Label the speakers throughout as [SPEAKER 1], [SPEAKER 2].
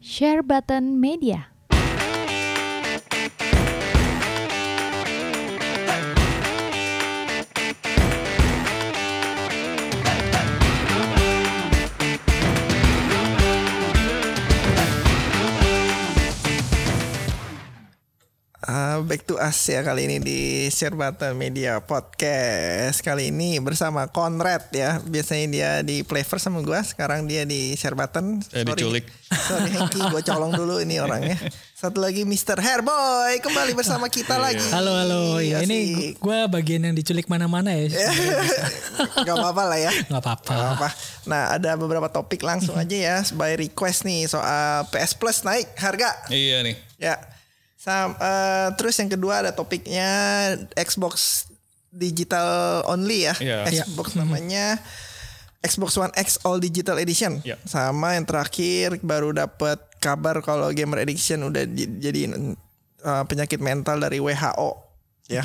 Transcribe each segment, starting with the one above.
[SPEAKER 1] Share Button Media.
[SPEAKER 2] Ah, back to us ya kali ini di Serbata Media Podcast Kali ini bersama Konrad ya Biasanya dia di Playver sama gue Sekarang dia di Serbatan
[SPEAKER 3] Eh, diculik.
[SPEAKER 2] Sorry Hengki gue colong dulu ini orangnya Satu lagi Mr. Hairboy Kembali bersama kita
[SPEAKER 3] Iya.
[SPEAKER 2] lagi Iya
[SPEAKER 4] Halo halo, ya ini
[SPEAKER 2] Asik.
[SPEAKER 4] gue bagian yang diculik mana-mana
[SPEAKER 3] Iya.
[SPEAKER 4] ya.
[SPEAKER 2] Gak apa-apa lah ya
[SPEAKER 4] Nggak apa-apa.
[SPEAKER 2] Nggak apa-apa. Nah ada beberapa topik langsung aja ya By request nih soal PS Plus naik harga
[SPEAKER 3] Iya nih.
[SPEAKER 2] Ya. Sam, eh, terus yang kedua ada topiknya Xbox digital only ya.
[SPEAKER 3] Iya.
[SPEAKER 2] Xbox namanya Xbox One X All Digital Edition.
[SPEAKER 3] Iya.
[SPEAKER 2] Sama yang terakhir baru dapat kabar kalau gamer addiction udah di- jadi eh, penyakit mental dari WHO ya.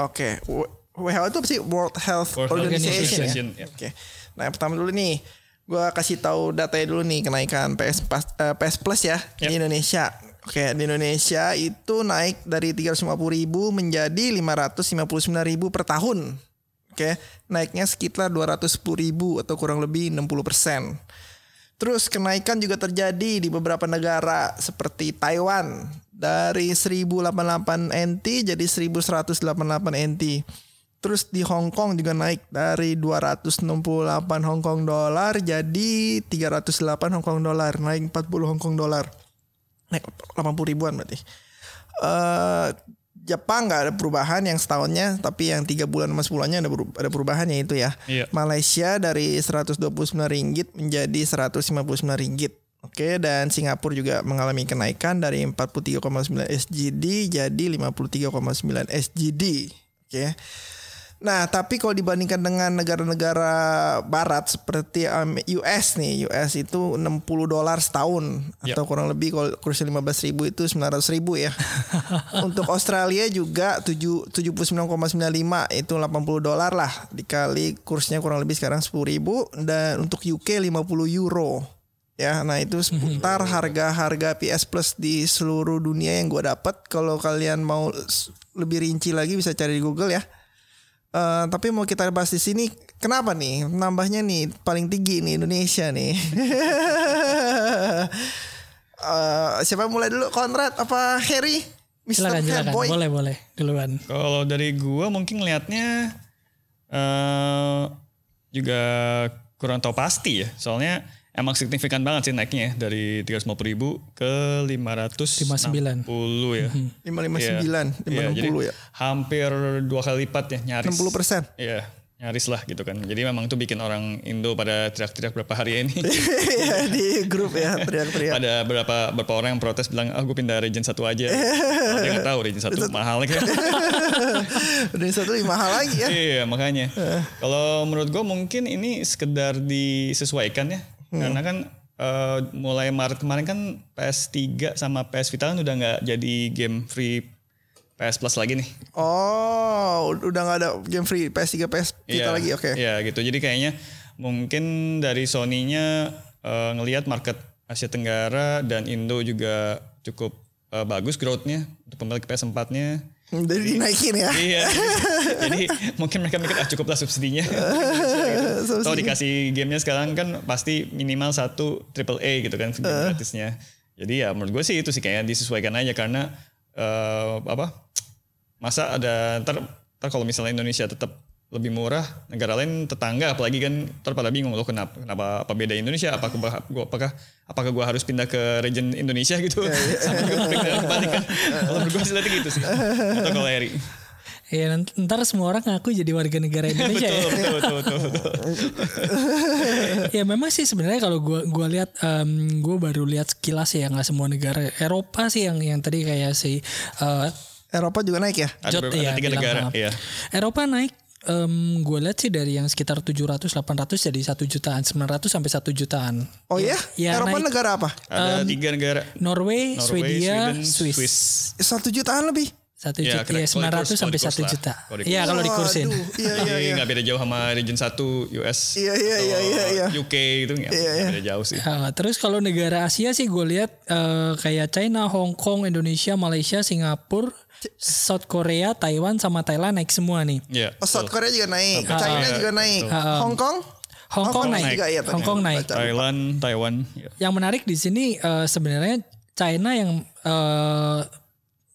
[SPEAKER 2] Oke. W- WHO itu apa sih? World Health
[SPEAKER 3] World Health
[SPEAKER 2] Organization,
[SPEAKER 3] Organization,
[SPEAKER 2] ya.
[SPEAKER 3] ya.
[SPEAKER 2] Oke. Nah, yang pertama dulu nih, gua kasih tahu datanya dulu nih kenaikan PS pas- eh, PS Plus ya di Indonesia. Oke, di Indonesia itu naik dari 350.000 menjadi 559.000 per tahun. Oke, naiknya sekitar 210.000 atau kurang lebih 60%. Terus kenaikan juga terjadi di beberapa negara seperti Taiwan dari 1088 NT jadi 1188 NT. Terus di Hong Kong juga naik dari 268 Hong Kong dolar jadi 308 Hong Kong dolar, naik 40 Hong Kong dolar. Naik 80 ribuan berarti. eh Jepang nggak ada perubahan yang setahunnya, tapi yang tiga bulan sama sepuluhnya ada, peru- ada perubahannya itu ya.
[SPEAKER 3] Iya.
[SPEAKER 2] Malaysia dari 129 ringgit menjadi 159 ringgit. Oke, dan Singapura juga mengalami kenaikan dari 43,9 SGD jadi 53,9 SGD. Oke. Nah, tapi kalau dibandingkan dengan negara-negara barat seperti um, US nih, US itu 60 dolar setahun
[SPEAKER 3] Yap.
[SPEAKER 2] atau kurang lebih kalau kursi 15 ribu itu 900 ribu ya. Untuk Australia juga 7 79,95 itu 80 dolar lah dikali kursnya kurang lebih sekarang 10 ribu dan untuk UK 50 euro. Ya, nah itu seputar harga-harga PS Plus di seluruh dunia yang gua dapat. Kalau kalian mau s- lebih rinci lagi bisa cari di Google ya. Eh, tapi mau kita bahas di sini kenapa nih nambahnya nih paling tinggi nih Indonesia nih. Eh, siapa yang mulai dulu Konrad apa Harry? Mr.
[SPEAKER 4] Silakan silakan,
[SPEAKER 2] Fanboy.
[SPEAKER 3] Iya.
[SPEAKER 4] boleh boleh duluan.
[SPEAKER 3] Kalau dari gua mungkin ngelihatnya eh juga kurang tahu pasti ya. Soalnya emang signifikan banget sih naiknya ya, dari 350 ribu ke 560
[SPEAKER 4] 59.
[SPEAKER 3] ya.
[SPEAKER 2] 559,
[SPEAKER 3] Iya, jadi
[SPEAKER 2] 560 ya.
[SPEAKER 3] Hampir dua kali lipat ya nyaris.
[SPEAKER 2] 60%.
[SPEAKER 3] Iya, nyaris lah gitu kan. Jadi memang tuh bikin orang Indo pada teriak-teriak berapa hari ini.
[SPEAKER 2] Iya, di grup ya teriak-teriak.
[SPEAKER 3] ada berapa berapa orang yang protes bilang ah gue pindah region satu aja Padahal dia nggak tahu region satu mahal kan
[SPEAKER 2] Dan satu lebih mahal lagi ya.
[SPEAKER 3] iya makanya
[SPEAKER 2] Eh.
[SPEAKER 3] kalau menurut gue mungkin ini sekedar disesuaikan ya
[SPEAKER 2] Hmm.
[SPEAKER 3] karena kan eh, mulai Maret kemarin kan PS3 sama PS Vita kan udah nggak jadi game free PS Plus lagi nih
[SPEAKER 2] Oh, udah nggak ada game free PS3 PS kita
[SPEAKER 3] Iya,
[SPEAKER 2] lagi. Oke.
[SPEAKER 3] Iya gitu. Jadi kayaknya mungkin dari Sony-nya eh, ngelihat market Asia Tenggara dan Indo juga cukup eh, bagus growth-nya untuk pemilik PS4-nya.
[SPEAKER 2] Jadi dinaikin ya.
[SPEAKER 3] iya. Jadi mungkin mereka mikir ah cukuplah subsidinya.
[SPEAKER 2] Subsidi.
[SPEAKER 3] Atau dikasih gamenya sekarang kan pasti minimal satu triple A gitu kan game gratisnya. Jadi ya menurut gue sih itu sih kayaknya disesuaikan aja karena eh, apa masa ada ntar, ntar kalau misalnya Indonesia tetap lebih murah negara lain tetangga apalagi kan ntar pada bingung loh kenapa kenapa apa beda Indonesia apakah gua- gua apakah apakah gua harus pindah ke region Indonesia gitu sama juga pindah kembali kan kalau menurut gua sih tadi gitu sih atau kalau Eri
[SPEAKER 4] Ya nant- ntar semua orang ngaku jadi warga negara Indonesia
[SPEAKER 3] betul,
[SPEAKER 4] ya.
[SPEAKER 3] betul betul betul betul
[SPEAKER 4] ya memang sih sebenarnya kalau gua gua lihat em, gua baru lihat sekilas ya nggak semua negara Eropa sih yang yang tadi kayak si eh,
[SPEAKER 2] Eropa juga naik ya.
[SPEAKER 3] ada,
[SPEAKER 4] Jot,
[SPEAKER 3] beberapa- ada
[SPEAKER 4] iya,
[SPEAKER 3] tiga
[SPEAKER 4] bilang
[SPEAKER 3] negara
[SPEAKER 4] maaf.
[SPEAKER 3] iya
[SPEAKER 4] Eropa naik gue lihat sih dari yang sekitar 700 800 jadi 1 jutaan 900 sampai 1 jutaan.
[SPEAKER 2] Oh ya?
[SPEAKER 4] Ya,
[SPEAKER 2] Eropa
[SPEAKER 4] naik.
[SPEAKER 2] negara apa?
[SPEAKER 3] ada tiga negara
[SPEAKER 4] Norway,
[SPEAKER 3] Norway,
[SPEAKER 4] Swedia,
[SPEAKER 3] Sweden,
[SPEAKER 4] Swiss.
[SPEAKER 3] Swiss.
[SPEAKER 2] Satu jutaan lebih.
[SPEAKER 4] Satu
[SPEAKER 3] Iya,
[SPEAKER 4] juta,
[SPEAKER 3] kira-
[SPEAKER 4] ya,
[SPEAKER 3] kalau di
[SPEAKER 4] 900
[SPEAKER 3] course-
[SPEAKER 4] sampai
[SPEAKER 3] kalau di course
[SPEAKER 4] 1
[SPEAKER 3] lah.
[SPEAKER 4] juta.
[SPEAKER 3] Kalau di
[SPEAKER 4] Iya, kalau dikursin.
[SPEAKER 2] Waduh, Iya iya
[SPEAKER 3] Jadi
[SPEAKER 2] iya.
[SPEAKER 3] nggak beda jauh sama region 1 US
[SPEAKER 2] Iya, iya,
[SPEAKER 3] atau
[SPEAKER 2] iya, iya, iya.
[SPEAKER 3] UK itu gitu, nggak
[SPEAKER 2] Iya,
[SPEAKER 3] nggak
[SPEAKER 2] iya.
[SPEAKER 3] beda jauh sih.
[SPEAKER 4] Uh, terus kalau negara Asia sih gue lihat uh, kayak China, Hong Kong, Indonesia, Malaysia, Singapura, South Korea, Taiwan sama Thailand naik semua nih.
[SPEAKER 3] Iya.
[SPEAKER 2] Oh, South Korea juga naik,
[SPEAKER 3] Betul.
[SPEAKER 2] China
[SPEAKER 3] Iya,
[SPEAKER 2] juga naik,
[SPEAKER 4] betul.
[SPEAKER 2] Hong Kong,
[SPEAKER 4] Hong Kong naik.
[SPEAKER 2] juga ya. tadi.
[SPEAKER 4] Hong Kong naik.
[SPEAKER 2] Baca.
[SPEAKER 3] Thailand, Taiwan. Iya.
[SPEAKER 4] Yang menarik di sini uh, sebenarnya China yang uh,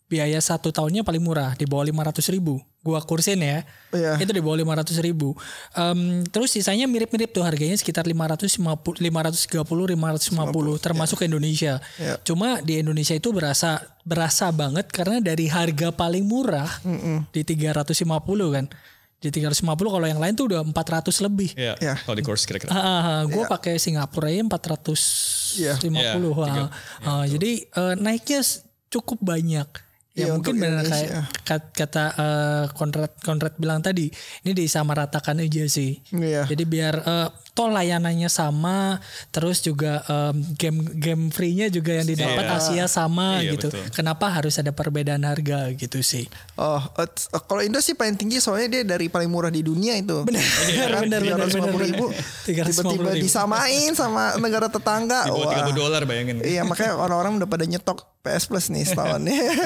[SPEAKER 4] biaya satu tahunnya paling murah di bawah 500 ribu. Gua kursin ya.
[SPEAKER 2] Iya.
[SPEAKER 4] Itu di bawah 500 ribu. Em, terus sisanya mirip-mirip tuh harganya sekitar 550, 530, 550 termasuk Indonesia.
[SPEAKER 2] Iya.
[SPEAKER 4] Cuma di Indonesia itu berasa berasa banget karena dari harga paling murah di 350 kan. Di 350 kalau yang lain tuh udah 400 lebih.
[SPEAKER 3] Iya.
[SPEAKER 2] Iya.
[SPEAKER 3] Kalau di course kira-kira.
[SPEAKER 4] gue pakai Singapura aja 450
[SPEAKER 2] Iya.
[SPEAKER 4] Wah.
[SPEAKER 3] Iya,
[SPEAKER 4] Ah, jadi eh, naiknya s- cukup banyak. Ya
[SPEAKER 2] Iya,
[SPEAKER 4] mungkin
[SPEAKER 2] untuk
[SPEAKER 4] benar kayak
[SPEAKER 2] Indonesia.
[SPEAKER 4] kat- kata eh, Konrad Konrad bilang tadi, ini disamaratakan aja sih.
[SPEAKER 2] Iya.
[SPEAKER 4] Jadi biar eh, toh layanannya sama, terus juga em, game game free-nya juga yang didapat
[SPEAKER 3] Iya.
[SPEAKER 4] Asia sama
[SPEAKER 3] Iya,
[SPEAKER 4] gitu.
[SPEAKER 3] betul.
[SPEAKER 4] Kenapa harus ada perbedaan harga gitu sih?
[SPEAKER 2] Oh, eh, t- eh, kalau Indo sih paling tinggi soalnya dia dari paling murah di dunia itu. Iya kan? Benar,
[SPEAKER 4] benar, benar, benar.
[SPEAKER 2] ribu.
[SPEAKER 4] 350.000.
[SPEAKER 2] Tiba-tiba disamain sama negara tetangga.
[SPEAKER 3] Di bawah
[SPEAKER 2] Oh, Wah.
[SPEAKER 3] 30 dolar bayangin.
[SPEAKER 2] Iya, makanya orang-orang udah pada nyetok PS Plus nih setahun.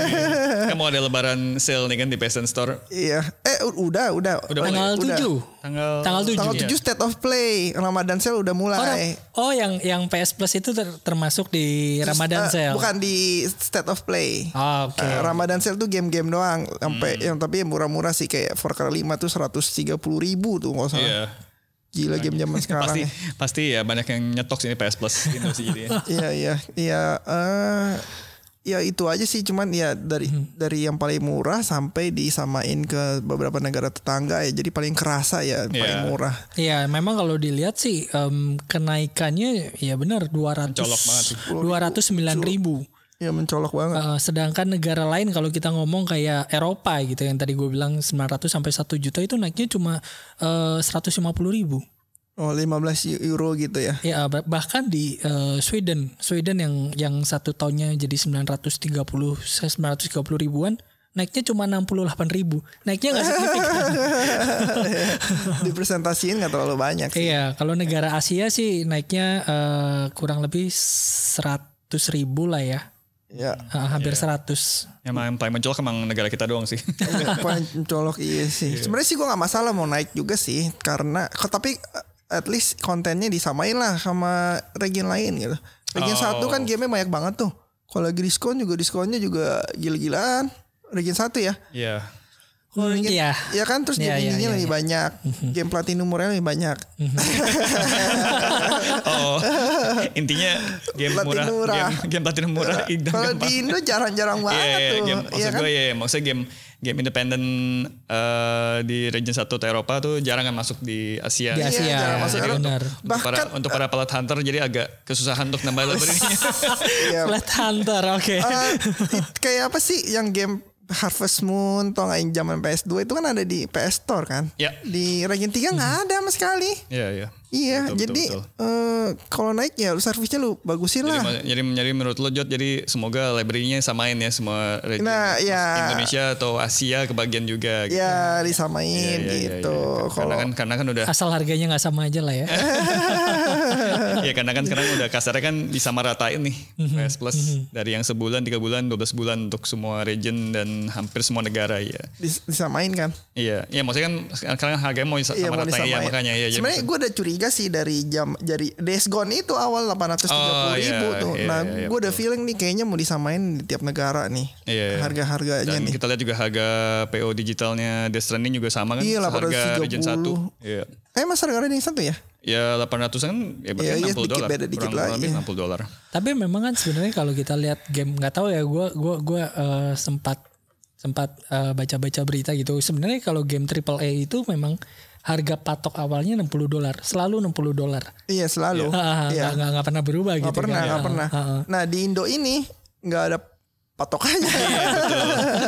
[SPEAKER 3] Kan mau ada lebaran sale nih kan di PSN Store
[SPEAKER 2] iya. Eh, u- udah, udah.
[SPEAKER 3] Udah mulai.
[SPEAKER 4] Tanggal 7.
[SPEAKER 3] tanggal
[SPEAKER 4] Tanggal 7.
[SPEAKER 2] Tanggal 7 State of Play Ramadan Sale udah mulai.
[SPEAKER 4] Oh, Ram- oh, yang yang PS Plus itu ter- termasuk di Ramadan
[SPEAKER 2] Eh,
[SPEAKER 4] sale.
[SPEAKER 2] Bukan di State of Play.
[SPEAKER 4] Ah, oke. Hmm.
[SPEAKER 2] Eh, Ramadan sale tuh game-game doang sampai yang tapi yang murah-murah sih kayak 4 kali 5 tuh 130 ribu tuh nggak salah.
[SPEAKER 3] Iya.
[SPEAKER 2] Gila game zaman sekarang.
[SPEAKER 3] Pasti
[SPEAKER 2] ya.
[SPEAKER 3] pasti ya banyak yang nyetok sini PS Plus Indo sih jadi.
[SPEAKER 2] Iya iya iya eh, ya itu aja sih cuman ya dari
[SPEAKER 4] Hmm.
[SPEAKER 2] dari yang paling murah sampai disamain ke beberapa negara tetangga ya jadi paling kerasa ya paling
[SPEAKER 3] Iya.
[SPEAKER 2] murah.
[SPEAKER 4] Iya, memang kalau dilihat sih em, kenaikannya ya benar 200
[SPEAKER 3] Mencolok banget sih.
[SPEAKER 4] 209 ribu.
[SPEAKER 2] Ya mencolok banget.
[SPEAKER 4] Eh, sedangkan negara lain kalau kita ngomong kayak Eropa gitu yang tadi gue bilang 900 sampai 1 juta itu naiknya cuma eh, 150 ribu.
[SPEAKER 2] Oh 15 euro gitu ya.
[SPEAKER 4] Ya bah- bahkan di eh, Sweden, Sweden yang yang satu tahunnya jadi 930 eh, 930 ribuan naiknya cuma 68 ribu. Naiknya nggak signifikan.
[SPEAKER 2] Dipresentasiin nggak terlalu banyak sih.
[SPEAKER 4] Iya, kalau negara Asia sih naiknya eh, kurang lebih 100 ribu lah ya.
[SPEAKER 2] Ya.
[SPEAKER 4] Ah, hampir 100.
[SPEAKER 3] Emang yang paling mencolok emang negara kita doang sih.
[SPEAKER 2] Paling colok iya sih. Sebenarnya sih gue nggak masalah mau naik juga sih karena kok- tapi eh, at least kontennya disamain lah sama region lain gitu. Region
[SPEAKER 3] Oh.
[SPEAKER 2] satu kan gamenya banyak banget tuh. Kalau lagi diskon juga diskonnya juga gila-gilaan. Region satu ya.
[SPEAKER 3] Iya.
[SPEAKER 4] Hmm, Iya.
[SPEAKER 2] Ya kan terus game
[SPEAKER 4] Iya, iya,
[SPEAKER 2] indinya
[SPEAKER 4] iya,
[SPEAKER 2] lebih banyak. Game platinum umurnya lebih banyak.
[SPEAKER 3] Oh. Intinya game
[SPEAKER 2] Platinum
[SPEAKER 3] murah,
[SPEAKER 2] murah.
[SPEAKER 3] Game, game platinum murah idang
[SPEAKER 2] Kalau
[SPEAKER 3] gampang.
[SPEAKER 2] di Indo jarang-jarang
[SPEAKER 3] Iya,
[SPEAKER 2] banget
[SPEAKER 3] iya,
[SPEAKER 2] tuh.
[SPEAKER 3] game, maksud
[SPEAKER 2] Iya kan?
[SPEAKER 3] gue ya, maksudnya game game independen eh, di region 1 atau Eropa tuh jarang kan masuk di Asia.
[SPEAKER 4] Di Asia,
[SPEAKER 2] Iya, jarang masuk
[SPEAKER 4] iya,
[SPEAKER 2] Eropa.
[SPEAKER 4] benar.
[SPEAKER 3] Untuk para,
[SPEAKER 2] Bahkan
[SPEAKER 3] untuk para pelat hunter jadi agak kesusahan untuk nambah levelnya.
[SPEAKER 2] iya.
[SPEAKER 4] Flat Hunter, oke.
[SPEAKER 2] Eh, it- kayak apa sih yang game Harvest Moon tau nggak yang zaman PS2 itu kan ada di PS Store kan?
[SPEAKER 3] Ya.
[SPEAKER 2] Di Regen 3 nggak ada sama sekali.
[SPEAKER 3] Iya, iya.
[SPEAKER 2] Iya,
[SPEAKER 3] Betul, betul,
[SPEAKER 2] jadi
[SPEAKER 3] betul.
[SPEAKER 2] eh, kalau naik ya lu servisnya lu bagusin
[SPEAKER 3] Jadi,
[SPEAKER 2] lah.
[SPEAKER 3] ma- jadi, jadi menurut lo Jod, jadi semoga library-nya samain ya semua region
[SPEAKER 2] Nah, ya.
[SPEAKER 3] Indonesia atau Asia kebagian juga. gitu.
[SPEAKER 2] ya disamain
[SPEAKER 3] Iya, iya, iya,
[SPEAKER 2] gitu.
[SPEAKER 3] iya. Karena
[SPEAKER 2] Kalau
[SPEAKER 3] kan karena kan udah
[SPEAKER 4] Asal harganya nggak sama aja lah ya.
[SPEAKER 2] Eh.
[SPEAKER 3] ya karena kan sekarang udah kasarnya kan disamaratain nih
[SPEAKER 4] Mm-hmm.
[SPEAKER 3] PS Plus dari yang sebulan, tiga bulan, 12 bulan untuk semua region dan hampir semua negara ya.
[SPEAKER 2] dis- disamain kan?
[SPEAKER 3] Iya, ya maksudnya kan sekarang harganya mau
[SPEAKER 2] Iya mau
[SPEAKER 3] disamaratain ya
[SPEAKER 2] disamain.
[SPEAKER 3] makanya ya. jadi-
[SPEAKER 2] Sebenarnya gue udah curiga sih dari jam dari Days Gone itu awal 830
[SPEAKER 3] Oh, iya,
[SPEAKER 2] ribu tuh.
[SPEAKER 3] iya,
[SPEAKER 2] nah
[SPEAKER 3] iya, iya,
[SPEAKER 2] gue udah feeling nih kayaknya mau disamain di tiap negara nih
[SPEAKER 3] Iya, iya.
[SPEAKER 2] harga-harganya
[SPEAKER 3] dan
[SPEAKER 2] nih.
[SPEAKER 3] kita lihat juga harga PO digitalnya Death Stranding juga sama kan
[SPEAKER 2] Iya, 830.
[SPEAKER 3] harga region 1. Iya.
[SPEAKER 2] Eh mas harga yang satu ya?
[SPEAKER 3] Ya 800 kan ya berarti
[SPEAKER 2] Iya, iya,
[SPEAKER 3] 60
[SPEAKER 2] dikit
[SPEAKER 3] dolar.
[SPEAKER 2] beda dikit
[SPEAKER 3] kurang
[SPEAKER 2] lah,
[SPEAKER 3] lebih
[SPEAKER 2] iya.
[SPEAKER 3] 60 dolar.
[SPEAKER 4] Tapi memang kan sebenarnya kalau kita lihat game nggak tahu ya gua gua gua eh, sempat sempat eh, baca-baca berita gitu. Sebenarnya kalau game AAA itu memang harga patok awalnya 60 dolar, selalu 60 dolar.
[SPEAKER 2] Iya selalu.
[SPEAKER 4] Ah,
[SPEAKER 2] Iya.
[SPEAKER 4] Nggak nggak- nggak pernah berubah
[SPEAKER 2] Nggak
[SPEAKER 4] gitu kan.
[SPEAKER 2] pernah, nggak
[SPEAKER 4] Ah,
[SPEAKER 2] pernah.
[SPEAKER 4] ah, ah.
[SPEAKER 2] Nah di Indo ini nggak ada patokannya.
[SPEAKER 4] Iya,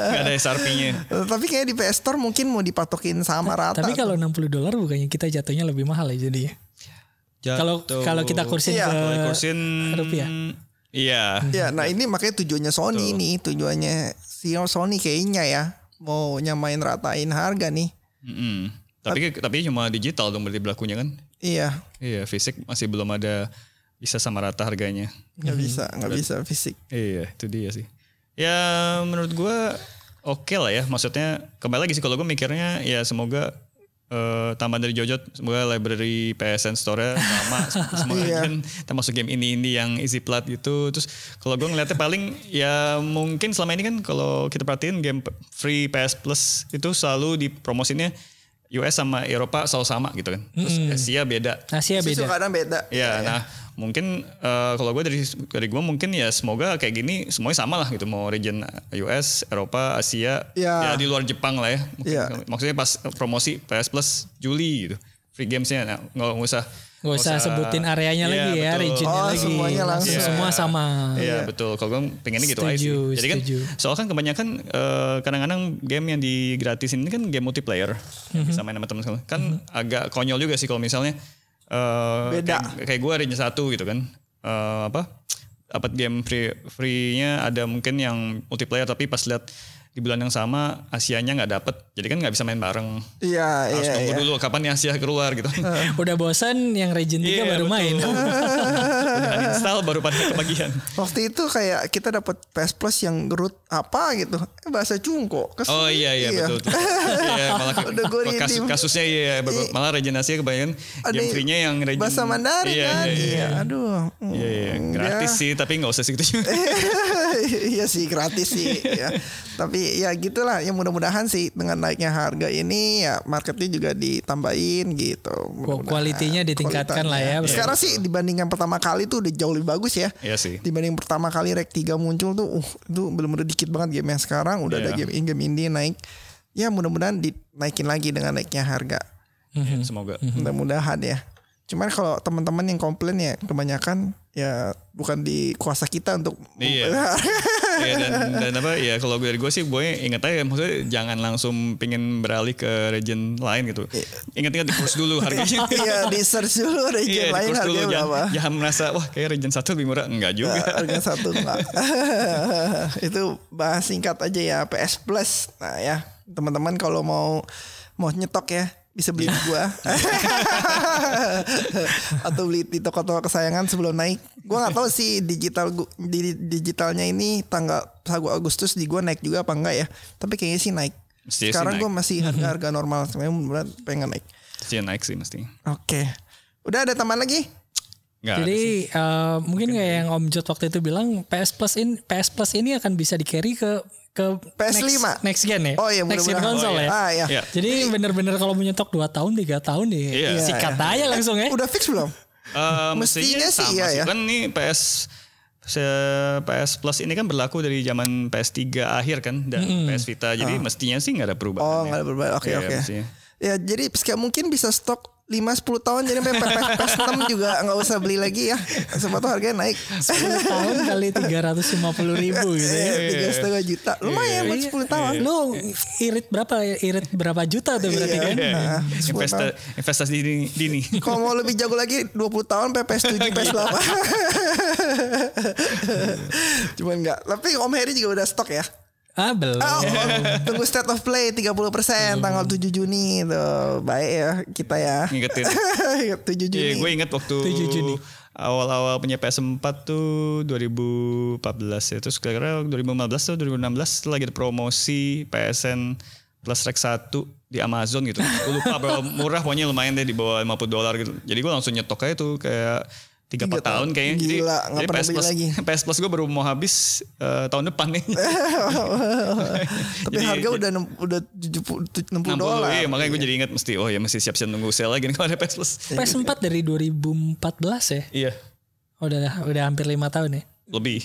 [SPEAKER 3] Enggak ada SRP-nya.
[SPEAKER 2] Tapi kayak di PS Store mungkin mau dipatokin sama rata.
[SPEAKER 4] Tapi kalau 60 dolar bukannya kita jatuhnya lebih mahal ya jadinya. Kalau kalau kita kursin
[SPEAKER 2] Iya.
[SPEAKER 4] ke
[SPEAKER 3] kursin
[SPEAKER 4] rupiah.
[SPEAKER 3] Iya.
[SPEAKER 2] Ya, nah ini makanya tujuannya Sony nih, tujuannya si Sony kayaknya ya mau nyamain ratain harga nih.
[SPEAKER 3] Mm-mm. Tapi tapi cuma digital dong berarti berlakunya kan?
[SPEAKER 2] Iya,
[SPEAKER 3] Iya, fisik masih belum ada bisa sama rata harganya.
[SPEAKER 2] nggak
[SPEAKER 4] Mhm.
[SPEAKER 2] bisa, nggak bisa fisik.
[SPEAKER 3] Iya, itu dia sih. Ya menurut gua oke lah ya. Maksudnya kembali lagi sih kalau gue mikirnya ya semoga eh tambahan dari Jojot semoga library PSN store sama semua kan termasuk game ini ini yang easy plat gitu terus kalau gue ngeliatnya paling ya mungkin selama ini kan kalau kita perhatiin game p- free PS Plus itu selalu dipromosinya US sama Eropa selalu sama gitu kan terus Asia beda
[SPEAKER 4] Asia
[SPEAKER 2] Justru
[SPEAKER 4] Iya, beda.
[SPEAKER 2] kadang beda.
[SPEAKER 3] Ya, nah mungkin eh, kalau gue dari dari gue mungkin ya semoga kayak gini semuanya sama lah gitu mau region US, Eropa, Asia,
[SPEAKER 2] Ya.
[SPEAKER 3] ya di luar Jepang lah ya. Mungkin-
[SPEAKER 2] Ya.
[SPEAKER 3] Maksudnya pas promosi PS Plus Juli gitu free gamesnya nah, nggak nggak usah
[SPEAKER 4] Gak usah sebutin
[SPEAKER 3] Iya,
[SPEAKER 4] areanya lagi ya,
[SPEAKER 3] betul.
[SPEAKER 4] regionnya
[SPEAKER 2] Oh,
[SPEAKER 4] lagi.
[SPEAKER 2] semuanya langsung.
[SPEAKER 4] Semua sama.
[SPEAKER 3] Iya betul. Kalau gue pengennya gitu aja sih.
[SPEAKER 4] Setuju,
[SPEAKER 3] Jadi kan
[SPEAKER 4] setuju.
[SPEAKER 3] soal kan kebanyakan eh, kadang-kadang game yang digratisin ini kan game multiplayer yang bisa main sama teman sekalian. Kan agak konyol juga sih kalau misalnya eh,
[SPEAKER 2] Beda.
[SPEAKER 3] Kayak, kayak gue range satu gitu kan. Eh, apa? Dapat game free free-nya ada mungkin yang multiplayer tapi pas lihat di bulan yang sama Asianya nggak dapet. Jadi kan nggak bisa main bareng.
[SPEAKER 2] Iya,
[SPEAKER 3] Harus
[SPEAKER 2] iya,
[SPEAKER 3] nunggu
[SPEAKER 2] iya.
[SPEAKER 3] dulu kapan nih Asia keluar gitu.
[SPEAKER 4] Udah bosan yang region 3
[SPEAKER 3] Iya,
[SPEAKER 4] baru
[SPEAKER 3] betul.
[SPEAKER 4] main.
[SPEAKER 3] Udah install baru pada kebagian.
[SPEAKER 2] Waktu itu kayak kita dapat PS Plus yang root apa gitu, Eh, bahasa cungko. Kesel.
[SPEAKER 3] Oh iya iya, betul. betul. Iya malah ke-
[SPEAKER 2] Udah gua
[SPEAKER 3] kasus,
[SPEAKER 2] redeem.
[SPEAKER 3] kasusnya iya iya, ber- malah Regen Asia kebanyakan
[SPEAKER 2] Ada
[SPEAKER 3] game free-nya yang Regen
[SPEAKER 2] bahasa Mandarin
[SPEAKER 3] iya,
[SPEAKER 2] kan.
[SPEAKER 3] Iya iya.
[SPEAKER 2] Iya, aduh. Hmm,
[SPEAKER 3] Iya, iya. gratis sih gitu. tapi nggak usah segitu juga.
[SPEAKER 2] iya sih gratis sih ya. tapi ya gitulah ya mudah-mudahan sih dengan naiknya harga ini ya marketnya juga ditambahin gitu Mudah-mudahan.
[SPEAKER 4] Kualitinya ditingkatkan lah ya,
[SPEAKER 2] Kualitasnya.
[SPEAKER 4] betul.
[SPEAKER 2] sekarang sih dibandingkan pertama kali tuh udah jauh lebih bagus ya
[SPEAKER 3] Iya sih.
[SPEAKER 2] dibanding pertama kali Rek 3 muncul tuh uh itu belum udah dikit banget game yang sekarang udah ada
[SPEAKER 3] Iya.
[SPEAKER 2] game game indie naik ya mudah-mudahan dinaikin lagi dengan naiknya harga
[SPEAKER 3] Ya, Semoga.
[SPEAKER 2] mudah-mudahan ya cuman kalau teman-teman yang komplain ya kebanyakan ya bukan di kuasa kita untuk
[SPEAKER 3] Iya. Iya dan dan apa ya kalau dari gue sih gue ingat aja maksudnya jangan langsung pingin beralih ke region lain gitu. Ingat-ingat di course dulu harganya.
[SPEAKER 2] Iya di search dulu region
[SPEAKER 3] Iya, di
[SPEAKER 2] lain
[SPEAKER 3] course dulu
[SPEAKER 2] harganya berapa
[SPEAKER 3] jangan, jangan merasa wah kayak region satu lebih murah enggak juga.
[SPEAKER 2] harga satu enggak itu bahas singkat aja ya PS Plus nah ya teman-teman kalau mau mau nyetok ya bisa beli di
[SPEAKER 3] Iya.
[SPEAKER 2] gua atau beli di toko-toko kesayangan sebelum naik gua nggak tahu sih digital gu- di, digitalnya ini tanggal 1 Agustus di gua naik juga apa enggak ya tapi kayaknya sih naik
[SPEAKER 3] Mestinya sih
[SPEAKER 2] sekarang
[SPEAKER 3] naik.
[SPEAKER 2] gua masih harga harga normal sebenarnya beneran pengen naik
[SPEAKER 3] Sih naik sih mesti.
[SPEAKER 2] oke udah ada tambahan lagi
[SPEAKER 3] Enggak.
[SPEAKER 4] Jadi eh, mungkin kayak yang Om Jod waktu itu bilang PS Plus in PS Plus ini akan bisa di carry ke ke
[SPEAKER 2] PS5.
[SPEAKER 4] next, next gen ya.
[SPEAKER 2] Oh iya
[SPEAKER 4] next gen
[SPEAKER 2] mudah-mudahan.
[SPEAKER 4] konsol
[SPEAKER 2] Oh, iya.
[SPEAKER 4] ya.
[SPEAKER 2] Ah, iya.
[SPEAKER 3] Iya.
[SPEAKER 4] Jadi bener-bener kalau menyetok 2 tahun 3 tahun ya
[SPEAKER 3] Iya.
[SPEAKER 4] sikat aja langsung ya.
[SPEAKER 2] Udah fix belum?
[SPEAKER 3] Eh,
[SPEAKER 2] Mestinya sih iya ya.
[SPEAKER 3] Kan nih PS se- PS Plus ini kan berlaku dari zaman PS3 akhir kan dan PS Vita. Jadi mestinya sih nggak ada perubahan.
[SPEAKER 2] Hmm. Ah. Oh,
[SPEAKER 3] ya.
[SPEAKER 2] nggak ada perubahan. Oke,
[SPEAKER 3] Iya,
[SPEAKER 2] oke.
[SPEAKER 3] mestinya.
[SPEAKER 2] Ya, jadi sekian mungkin bisa stok 5 10 tahun jadi sampai PS 6 juga nggak usah beli lagi ya. Siapa tuh harganya naik. Eh,
[SPEAKER 4] 10 tahun kali 350 ribu
[SPEAKER 3] Iya,
[SPEAKER 4] gitu ya.
[SPEAKER 2] Tiga setengah juta lumayan buat
[SPEAKER 4] Iya.
[SPEAKER 2] 10 tahun.
[SPEAKER 4] Lu irit berapa irit berapa juta tuh berarti kan?
[SPEAKER 2] Nah,
[SPEAKER 3] Iya, iya. Investa, investasi dini, dini.
[SPEAKER 2] Kalau mau lebih jago lagi 20 tahun sampai PS 7 PS 8. Cuman nggak. Tapi Om Heri juga udah stok ya.
[SPEAKER 4] Ah
[SPEAKER 3] Iya.
[SPEAKER 4] belum.
[SPEAKER 2] Oh, tunggu state of play 30% tanggal 7 Juni tuh. Baik ya kita ya.
[SPEAKER 3] Ngingetin.
[SPEAKER 2] 7
[SPEAKER 3] Iya,
[SPEAKER 2] Juni.
[SPEAKER 3] gue inget waktu
[SPEAKER 4] 7 Juni.
[SPEAKER 3] awal-awal punya PS4 tuh 2014 ya. Terus kira-kira 2015 atau 2016 tuh lagi ada promosi PSN Plus Rek 1 di Amazon gitu. Gue lupa berapa murah pokoknya lumayan deh di bawah 50 dolar gitu. Jadi gue langsung nyetok aja tuh kayak 3
[SPEAKER 2] Tiga
[SPEAKER 3] tahun, tahun
[SPEAKER 2] tahun.
[SPEAKER 3] kayaknya. Jadi,
[SPEAKER 2] Gila, nggak
[SPEAKER 3] jadi
[SPEAKER 2] pernah
[SPEAKER 3] PS
[SPEAKER 2] beli
[SPEAKER 3] Plus,
[SPEAKER 2] lagi.
[SPEAKER 3] PS Plus gue baru mau habis eh, tahun depan nih.
[SPEAKER 2] Tapi
[SPEAKER 3] Jadi-
[SPEAKER 2] harga udah nem- udah 70 60
[SPEAKER 3] 60
[SPEAKER 2] dolar.
[SPEAKER 3] Iya, makanya gue jadi ingat mesti oh ya mesti siap-siap nunggu sale lagi nih kalau ada PS Plus.
[SPEAKER 2] Iya.
[SPEAKER 4] PS4 dari 2014 ya.
[SPEAKER 3] Iya.
[SPEAKER 4] Udah udah hampir 5 tahun ya.
[SPEAKER 3] lebih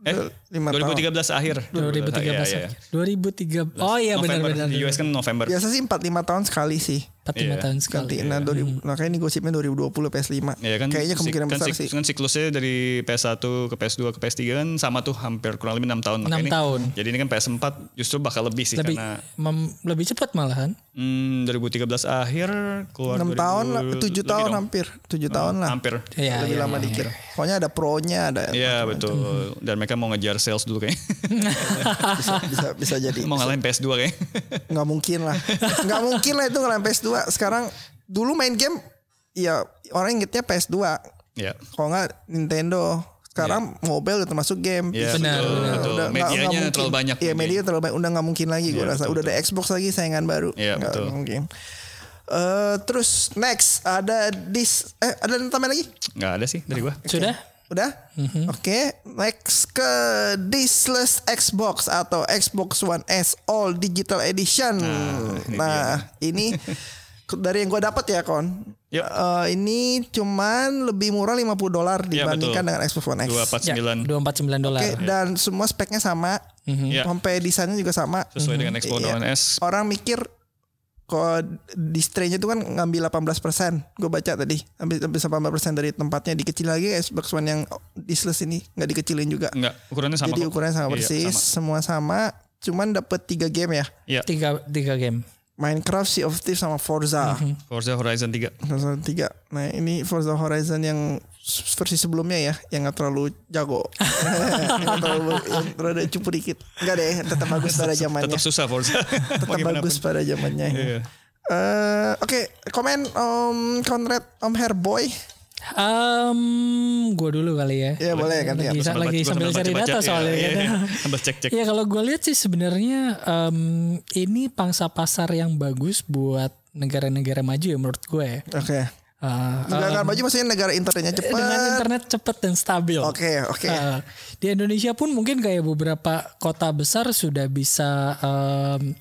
[SPEAKER 3] eh
[SPEAKER 2] Iya. Lima
[SPEAKER 3] 2013 akhir
[SPEAKER 4] 2013.
[SPEAKER 3] Iya, iya.
[SPEAKER 4] akhir. 2013. Oh iya
[SPEAKER 3] November.
[SPEAKER 4] benar-benar.
[SPEAKER 2] Iya.
[SPEAKER 3] di US kan Iya. November
[SPEAKER 2] Biasa sih 4 5 tahun sekali sih.
[SPEAKER 4] 4 lima tahun sekali.
[SPEAKER 2] Ganti. Nah, 2000 makanya ini gosipnya 2020 PS5.
[SPEAKER 3] Ya Hmm. kan,
[SPEAKER 2] Kayaknya kemungkinan
[SPEAKER 3] sik- kan
[SPEAKER 2] besar
[SPEAKER 3] sik-
[SPEAKER 2] sih.
[SPEAKER 3] kan siklusnya dari PS1 ke PS2 ke PS3 kan sama tuh hampir kurang lebih 6 tahun. Makanya
[SPEAKER 4] Enam
[SPEAKER 3] ini-
[SPEAKER 4] tahun.
[SPEAKER 3] Jadi ini kan PS4 justru bakal lebih sih
[SPEAKER 4] Lebih
[SPEAKER 3] karena
[SPEAKER 4] mem- lebih cepat malahan.
[SPEAKER 3] hmm, 2013 akhir keluar
[SPEAKER 2] 6
[SPEAKER 3] 2000
[SPEAKER 2] tahun, 7
[SPEAKER 3] lebih
[SPEAKER 2] tahun
[SPEAKER 3] dong. Nah,
[SPEAKER 2] hampir. 7 tahun lah.
[SPEAKER 3] Hampir.
[SPEAKER 4] Ya,
[SPEAKER 2] Lebih
[SPEAKER 4] ya,
[SPEAKER 2] lama
[SPEAKER 4] ya,
[SPEAKER 2] dikit.
[SPEAKER 4] ya.
[SPEAKER 2] Pokoknya ada pro-nya ada.
[SPEAKER 3] Iya betul. Dan mereka mau ngejar sales dulu kayaknya.
[SPEAKER 2] Bisa, bisa bisa jadi.
[SPEAKER 3] mau ngalahin PS2 kayaknya.
[SPEAKER 2] nggak mungkin lah nggak mungkin lah itu ngelain PS2 sekarang dulu main game ya orang ingetnya PS2
[SPEAKER 3] Iya.
[SPEAKER 2] kalau nggak Nintendo sekarang mobile udah termasuk game
[SPEAKER 3] Iya,
[SPEAKER 2] PC.
[SPEAKER 4] Benar,
[SPEAKER 3] betul, betul.
[SPEAKER 4] benar.
[SPEAKER 2] Udah nggak- nggak
[SPEAKER 3] Medianya
[SPEAKER 2] mungkin.
[SPEAKER 3] terlalu banyak.
[SPEAKER 2] Iya media terlalu banyak. Udah nggak mungkin lagi gue
[SPEAKER 3] Iya,
[SPEAKER 2] rasa.
[SPEAKER 3] betul,
[SPEAKER 2] Udah ada Xbox lagi saingan baru.
[SPEAKER 3] Iya,
[SPEAKER 2] Nggak
[SPEAKER 3] betul.
[SPEAKER 2] mungkin. Eh, terus next ada dis eh ada tambahan lagi?
[SPEAKER 3] Nggak ada sih dari gua.
[SPEAKER 4] Sudah?
[SPEAKER 2] Udah?
[SPEAKER 3] Mhm.
[SPEAKER 2] Oke, next ke Diskless Xbox atau Xbox One S All Digital Edition. Nah,
[SPEAKER 3] ini
[SPEAKER 2] ini dari yang gue dapat ya, Kon.
[SPEAKER 3] Yuk.
[SPEAKER 2] Eh, ini cuman lebih murah 50 dolar
[SPEAKER 3] Iya,
[SPEAKER 2] dibandingkan
[SPEAKER 3] betul. Iya.
[SPEAKER 2] dengan Xbox One X. Oke,
[SPEAKER 4] Ya,
[SPEAKER 3] 249
[SPEAKER 4] 249 dolar.
[SPEAKER 2] dan semua speknya sama.
[SPEAKER 3] Iya.
[SPEAKER 2] Sampai desainnya juga sama.
[SPEAKER 3] sesuai dengan
[SPEAKER 4] Mhm.
[SPEAKER 3] Xbox
[SPEAKER 2] Iya.
[SPEAKER 3] One S.
[SPEAKER 2] Orang mikir kok distrenya itu kan ngambil 18%. Gue baca tadi. Habis habis 18% dari tempatnya dikecil lagi Xbox One yang diskless ini nggak dikecilin juga.
[SPEAKER 3] Enggak, ukurannya sama.
[SPEAKER 2] Jadi
[SPEAKER 3] kok.
[SPEAKER 2] ukurannya sama
[SPEAKER 3] Iya,
[SPEAKER 2] persis, semua sama, cuman dapat tiga game ya.
[SPEAKER 3] Iya,
[SPEAKER 4] Tiga, tiga game.
[SPEAKER 2] Minecraft, Sea of Thieves sama Forza.
[SPEAKER 3] Forza Horizon 3.
[SPEAKER 2] Forza 3. Nah, ini Forza Horizon yang versi sebelumnya ya, yang nggak terlalu jago. yang terlalu yang terlalu cupu dikit. Enggak deh, tetap bagus pada zamannya.
[SPEAKER 3] Tetap susah Forza.
[SPEAKER 2] Tetap bagus pada zamannya.
[SPEAKER 3] Iya.
[SPEAKER 2] Eh, Oke, komen Om Conrad, Om Herboy.
[SPEAKER 4] Um, gue dulu kali ya.
[SPEAKER 2] Ya boleh kan ya.
[SPEAKER 4] Lagi-
[SPEAKER 3] Sambil
[SPEAKER 4] lagi
[SPEAKER 3] baca-
[SPEAKER 4] sambil cari
[SPEAKER 3] baca-baca,
[SPEAKER 4] data
[SPEAKER 3] iya,
[SPEAKER 4] soalnya
[SPEAKER 3] iya,
[SPEAKER 4] kan.
[SPEAKER 3] iya. Sambil cek-cek.
[SPEAKER 4] Ya kalau gue lihat sih sebenarnya em, ini pangsa pasar yang bagus buat negara-negara maju ya menurut gue. ya.
[SPEAKER 2] Oke.
[SPEAKER 4] Eh,
[SPEAKER 2] Negara maju maksudnya negara internetnya
[SPEAKER 4] dengan
[SPEAKER 2] cepat.
[SPEAKER 4] internet cepat dan stabil.
[SPEAKER 2] Oke, oke.
[SPEAKER 4] Eh, di Indonesia pun mungkin kayak beberapa kota besar sudah bisa em,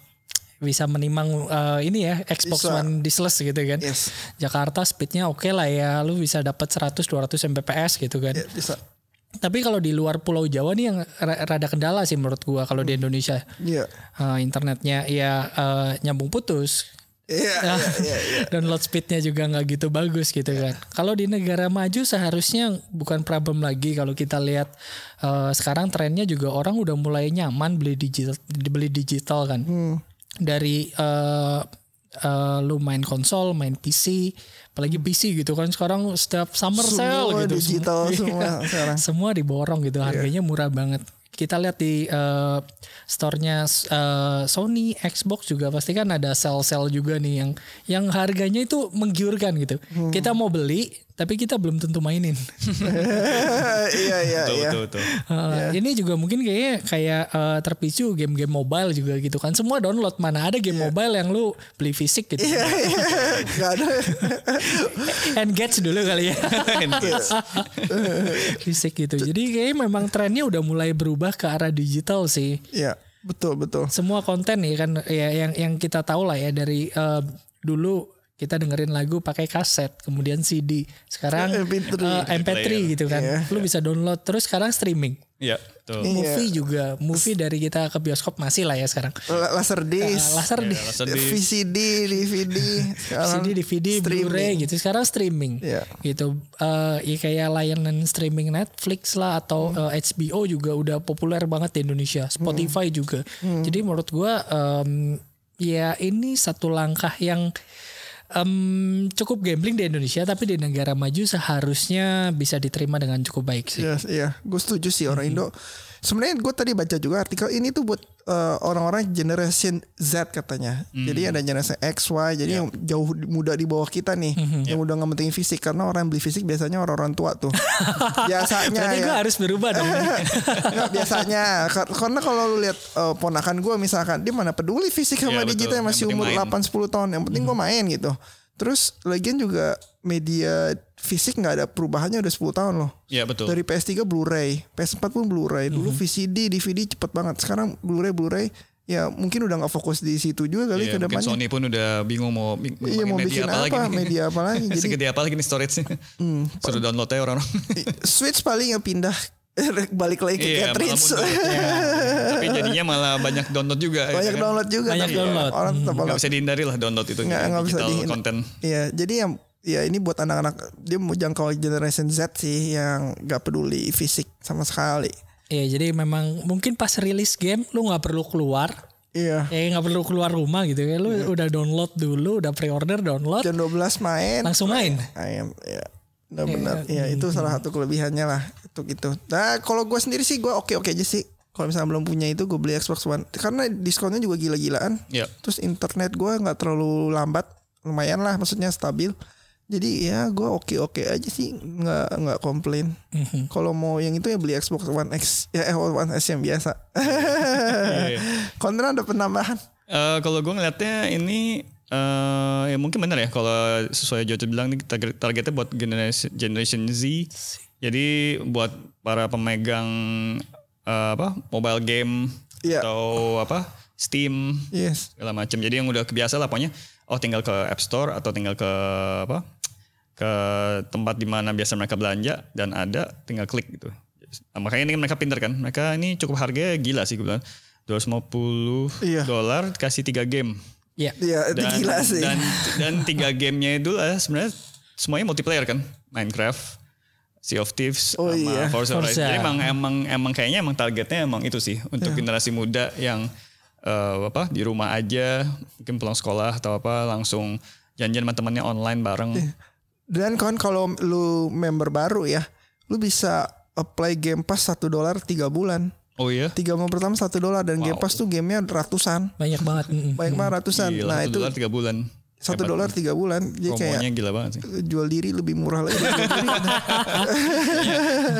[SPEAKER 4] bisa menimang eh, ini ya Xbox
[SPEAKER 2] Bisa.
[SPEAKER 4] One diskless gitu kan.
[SPEAKER 2] Yes.
[SPEAKER 4] Jakarta speednya oke lah ya, lu bisa dapat 100 200 Mbps gitu kan.
[SPEAKER 2] Ya, bisa.
[SPEAKER 4] Tapi kalau di luar Pulau Jawa nih yang ra- rada kendala sih menurut gua kalau di Indonesia
[SPEAKER 2] Iya.
[SPEAKER 4] Eh, internetnya ya eh, nyambung putus.
[SPEAKER 2] Iya, iya,
[SPEAKER 4] Ah.
[SPEAKER 2] iya, iya.
[SPEAKER 4] Download speednya juga nggak gitu bagus gitu kan. Kalau di negara maju seharusnya bukan problem lagi kalau kita lihat eh, sekarang trennya juga orang udah mulai nyaman beli digital beli digital kan.
[SPEAKER 2] Hmm.
[SPEAKER 4] Dari eh, eh, lu main konsol, main PC, apalagi PC gitu kan sekarang setiap summer sale
[SPEAKER 2] Semua
[SPEAKER 4] gitu. semua-
[SPEAKER 2] digital semua sekarang. Iya.
[SPEAKER 4] semua diborong gitu harganya murah banget kita lihat di eh, store-nya eh, Sony Xbox juga pasti kan ada sel-sel juga nih yang yang harganya itu menggiurkan gitu
[SPEAKER 2] Hmm.
[SPEAKER 4] kita mau beli tapi kita belum tentu mainin
[SPEAKER 2] iya iya
[SPEAKER 3] Betul,
[SPEAKER 2] iya.
[SPEAKER 3] betul, betul.
[SPEAKER 4] Eh, ini juga mungkin kayaknya kayak eh, terpicu game-game mobile juga gitu kan semua download mana ada game
[SPEAKER 2] Iya.
[SPEAKER 4] mobile yang lu beli fisik gitu
[SPEAKER 2] Gak Iya, ada.
[SPEAKER 4] Engage dulu kali ya. Fisik gitu. Jadi kayaknya memang trennya udah mulai berubah ke arah digital sih.
[SPEAKER 2] Iya, betul betul.
[SPEAKER 4] Semua konten ya kan ya yang yang kita tahu lah ya dari eh, dulu kita dengerin lagu pakai kaset, kemudian CD, sekarang eh,
[SPEAKER 2] MP3.
[SPEAKER 4] MP3, gitu kan. Lu bisa download terus sekarang streaming.
[SPEAKER 3] Iya, betul.
[SPEAKER 4] Movie juga, movie dari kita ke bioskop masih lah ya sekarang. Nah,
[SPEAKER 2] La- Laserdisc,
[SPEAKER 4] Laser di
[SPEAKER 3] Iya, Alasan di
[SPEAKER 2] VCD, DVD, sekarang
[SPEAKER 4] CD, DVD, Blu-ray gitu. Sekarang streaming.
[SPEAKER 2] Iya.
[SPEAKER 4] Gitu. Eh, ya kayak layanan streaming Netflix lah atau
[SPEAKER 2] Hmm.
[SPEAKER 4] eh, HBO juga udah populer banget di Indonesia. Spotify juga.
[SPEAKER 2] Hmm.
[SPEAKER 4] Jadi menurut gua em, ya ini satu langkah yang em, cukup gambling di Indonesia tapi di negara maju seharusnya bisa diterima dengan cukup baik sih.
[SPEAKER 2] Yes, iya, gue setuju sih
[SPEAKER 3] Hmm.
[SPEAKER 2] orang Indo. Sebenarnya gue tadi baca juga artikel ini tuh buat eh, orang-orang generation Z katanya.
[SPEAKER 3] Hmm.
[SPEAKER 2] Jadi ada generasi X, Y, jadi
[SPEAKER 3] Iya.
[SPEAKER 2] yang jauh di- muda di bawah kita nih,
[SPEAKER 3] Hmm,
[SPEAKER 2] yang udah nggak penting fisik karena orang yang beli fisik biasanya orang-orang tua tuh. biasanya
[SPEAKER 4] Berarti
[SPEAKER 2] ya.
[SPEAKER 4] gua harus berubah dong.
[SPEAKER 2] Nggak, biasanya Kar- karena kalau lu lihat eh, ponakan gue misalkan dia mana peduli fisik sama
[SPEAKER 3] Iya, betul.
[SPEAKER 2] digital
[SPEAKER 3] Yang
[SPEAKER 2] masih
[SPEAKER 3] penting
[SPEAKER 2] umur
[SPEAKER 3] main.
[SPEAKER 2] 8
[SPEAKER 3] Hmm.
[SPEAKER 2] 10 tahun yang penting gue main gitu. Terus lagian juga media fisik nggak ada perubahannya udah 10 tahun loh.
[SPEAKER 3] Iya, betul. Mhm.
[SPEAKER 2] Dari PS3 Blu-ray, PS4 pun Blu-ray. Dulu VCD, DVD cepet banget. Sekarang Blu-ray Blu-ray ya mungkin udah nggak fokus di situ juga kali
[SPEAKER 3] Iya,
[SPEAKER 2] ke
[SPEAKER 3] mungkin
[SPEAKER 2] depannya.
[SPEAKER 3] Sony pun udah bingung mau bi-
[SPEAKER 2] Iya, mau bikin apa,
[SPEAKER 3] nih.
[SPEAKER 2] media apa lagi. Jadi- Hmm.
[SPEAKER 3] Segede apa lagi nih storage-nya. Suruh download aja orang-orang.
[SPEAKER 2] Switch paling yang pindah balik lagi ke
[SPEAKER 3] Iya, malah
[SPEAKER 2] cartridge.
[SPEAKER 3] mundur. Iya. Tapi jadinya malah banyak download juga. ya
[SPEAKER 2] banyak
[SPEAKER 3] kan?
[SPEAKER 2] download juga
[SPEAKER 4] Banyak
[SPEAKER 2] tapi
[SPEAKER 4] download.
[SPEAKER 2] orang tetap
[SPEAKER 3] Mhm. Nggak
[SPEAKER 2] download
[SPEAKER 3] bisa dihindari lah download itu.
[SPEAKER 2] nggak nggak bisa
[SPEAKER 3] digital
[SPEAKER 2] dihin-
[SPEAKER 3] konten.
[SPEAKER 2] Iya, jadi yang ya ini buat anak-anak dia mau jangkau generation Z sih yang nggak peduli fisik sama sekali.
[SPEAKER 4] Iya, jadi memang mungkin pas rilis game lu nggak perlu keluar,
[SPEAKER 2] Iya.
[SPEAKER 4] ya nggak perlu keluar rumah gitu ya. Lu udah download dulu, udah pre-order download,
[SPEAKER 2] Jam 12 kan main.
[SPEAKER 4] langsung main.
[SPEAKER 2] ayam ya benar benar ya itu salah satu kelebihannya lah itu gitu nah kalau gue sendiri sih gue oke oke aja sih kalau misalnya belum punya itu gue beli Xbox One karena diskonnya juga gila-gilaan
[SPEAKER 3] Iya.
[SPEAKER 2] terus internet gue nggak terlalu lambat lumayan lah maksudnya stabil jadi ya gue oke oke aja sih nggak nggak komplain kalau mau yang itu ya beli Xbox One X ya eh, One S yang biasa
[SPEAKER 3] iya.
[SPEAKER 2] kontra ada penambahan
[SPEAKER 3] Eh, kalau gue ngeliatnya ini eh ya mungkin benar ya kalau sesuai Jojo bilang nih target- targetnya buat generation, generation Z. Jadi buat para pemegang eh, apa mobile game
[SPEAKER 2] Iya.
[SPEAKER 3] atau apa Steam
[SPEAKER 2] yes
[SPEAKER 3] segala macam. Jadi yang udah kebiasa lah pokoknya oh tinggal ke App Store atau tinggal ke apa ke tempat di mana biasa mereka belanja dan ada tinggal klik gitu. Nah, makanya ini mereka pinter kan. Mereka ini cukup harganya gila sih gue bilang. 250
[SPEAKER 2] Iya.
[SPEAKER 3] dolar kasih 3 game.
[SPEAKER 4] Iya.
[SPEAKER 2] ya itu gila sih
[SPEAKER 3] Dan, dan tiga gamenya itu lah sebenarnya semuanya multiplayer kan. Minecraft, Sea of Thieves,
[SPEAKER 2] Oh
[SPEAKER 3] sama
[SPEAKER 2] iya.
[SPEAKER 3] Forza Horizon.
[SPEAKER 4] Forza.
[SPEAKER 3] Jadi emang emang emang kayaknya emang targetnya emang itu sih untuk
[SPEAKER 2] Iya.
[SPEAKER 3] generasi muda yang eh, apa di rumah aja mungkin pulang sekolah atau apa langsung janjian sama temannya online bareng.
[SPEAKER 2] Iya. Dan kan kalau lu member baru ya, lu bisa apply Game Pass 1 dolar 3 bulan.
[SPEAKER 3] Oh iya.
[SPEAKER 2] 3 bulan pertama 1 dolar dan Game
[SPEAKER 3] Wow.
[SPEAKER 2] Pass tuh gamenya ratusan.
[SPEAKER 4] Banyak banget. mm-mm.
[SPEAKER 2] Banyak banget ratusan.
[SPEAKER 3] Gila,
[SPEAKER 2] nah,
[SPEAKER 3] satu
[SPEAKER 2] itu
[SPEAKER 3] dolar tiga bulan.
[SPEAKER 2] 1 dolar 3 bulan. Jadi kayak
[SPEAKER 3] Promonya gila banget sih.
[SPEAKER 2] jual diri lebih murah lagi.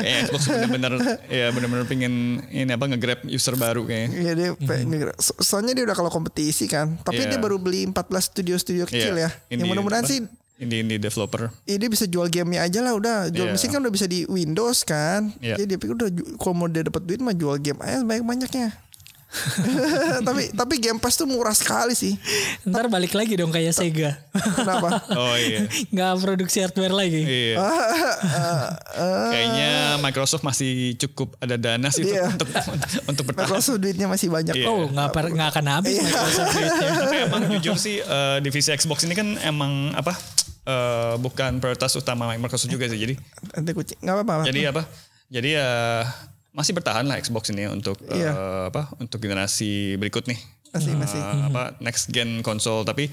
[SPEAKER 3] Eh, Xbox bener-bener ya bener-bener pengen ini apa nge-grab user baru kayaknya.
[SPEAKER 2] Iya dia pengen- so- soalnya dia udah kalau kompetisi kan. Tapi
[SPEAKER 3] Mhm. Iya.
[SPEAKER 2] dia baru beli 14 studio-studio kecil ya.
[SPEAKER 3] Iya,
[SPEAKER 2] Yang
[SPEAKER 3] indie
[SPEAKER 2] mudah-mudahan
[SPEAKER 3] apa?
[SPEAKER 2] sih
[SPEAKER 3] indie indie developer.
[SPEAKER 2] ya dia bisa jual gamenya aja lah udah jual
[SPEAKER 3] Iya.
[SPEAKER 2] mesin kan udah bisa di Windows kan
[SPEAKER 3] Iya.
[SPEAKER 2] jadi dia pikir udah ju- kalau mau dia dapat duit mah jual game aja banyak banyaknya tapi tapi Game Pass tuh murah sekali sih
[SPEAKER 4] Ntar balik lagi dong kayak Sega.
[SPEAKER 2] kenapa
[SPEAKER 3] Oh iya.
[SPEAKER 4] Nggak produksi hardware lagi.
[SPEAKER 3] Iya.
[SPEAKER 2] Eh,
[SPEAKER 3] Kayaknya Microsoft masih cukup ada dana sih untuk-
[SPEAKER 2] Iya.
[SPEAKER 3] untuk untuk, untuk bertahan.
[SPEAKER 2] Microsoft duitnya masih banyak
[SPEAKER 3] Iya.
[SPEAKER 4] Oh, nggak per- nggak akan habis. Microsoft duitnya.
[SPEAKER 3] Tapi emang jujur sih eh, divisi Xbox ini kan emang apa eh, bukan prioritas utama Microsoft juga sih. Jadi
[SPEAKER 2] nanti kucing nggak apa-apa
[SPEAKER 3] jadi apa? Jadi ya masih bertahan lah Xbox ini untuk eh,
[SPEAKER 2] Iya.
[SPEAKER 3] apa? Untuk generasi berikut nih.
[SPEAKER 2] Masih, masih. Mhm.
[SPEAKER 3] Eh, apa next gen konsol tapi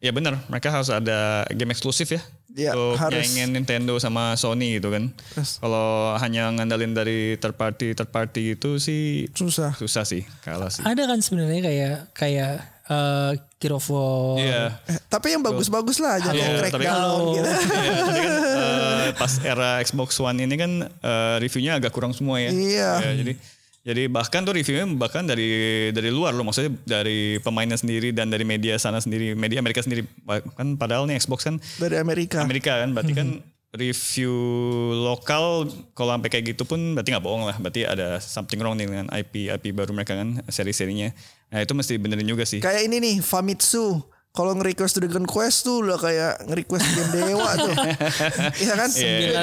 [SPEAKER 3] ya benar mereka harus ada game eksklusif ya.
[SPEAKER 2] Iya,
[SPEAKER 3] Untuk
[SPEAKER 2] harus.
[SPEAKER 3] nyaingin Nintendo sama Sony gitu kan. Kalau hanya ngandalin dari third party third party itu sih
[SPEAKER 2] susah
[SPEAKER 3] susah sih kalah sih.
[SPEAKER 4] Ada kan sebenarnya kayak kayak eh Gear of War.
[SPEAKER 3] Iya.
[SPEAKER 2] Eh, tapi yang bagus-bagus lah jangan
[SPEAKER 3] Iya,
[SPEAKER 2] yang
[SPEAKER 3] tapi-
[SPEAKER 2] crackdown gitu
[SPEAKER 3] Iya, tapi kan, eh, pas era Xbox One ini kan eh, reviewnya agak kurang semua ya.
[SPEAKER 2] Iya.
[SPEAKER 3] Ya, jadi jadi bahkan tuh reviewnya bahkan dari dari luar loh maksudnya dari pemainnya sendiri dan dari media sana sendiri, media Amerika sendiri kan padahal nih Xbox kan
[SPEAKER 2] dari Amerika
[SPEAKER 3] Amerika kan berarti kan review lokal kalau sampai kayak gitu pun berarti nggak bohong lah berarti ada something wrong nih dengan IP IP baru mereka kan seri-serinya nah itu mesti benerin juga sih
[SPEAKER 2] kayak ini nih Famitsu kalau nge-request Dragon Quest tuh udah kayak nge-request game dewa tuh Iya kan
[SPEAKER 3] Iya, iya,
[SPEAKER 4] 95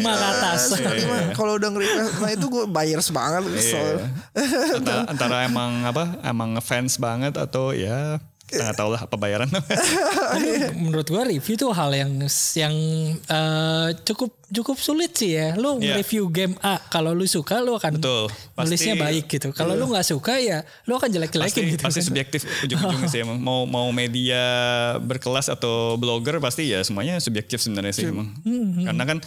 [SPEAKER 4] ke atas.
[SPEAKER 2] Iya, iya, iya. Kalau udah nge-request Nah itu gue buyers banget kesel.
[SPEAKER 3] Iya. antara, antara emang apa emang ngefans banget atau ya kita nggak tahu lah apa bayaran
[SPEAKER 4] menurut gua review tuh hal yang yang eh, cukup cukup sulit sih ya. Lu
[SPEAKER 3] Iya.
[SPEAKER 4] review game A kalau lu suka lu akan
[SPEAKER 3] Betul. Pasti- Iya.
[SPEAKER 4] nulisnya baik gitu. Kalau lu nggak suka ya lu akan jelek-jelekin
[SPEAKER 3] pasti
[SPEAKER 4] gitu.
[SPEAKER 3] pasti
[SPEAKER 4] kan.
[SPEAKER 3] subjektif ujung-ujungnya sih emang mau mau media berkelas atau blogger pasti ya semuanya subjektif sebenarnya sih emang karena kan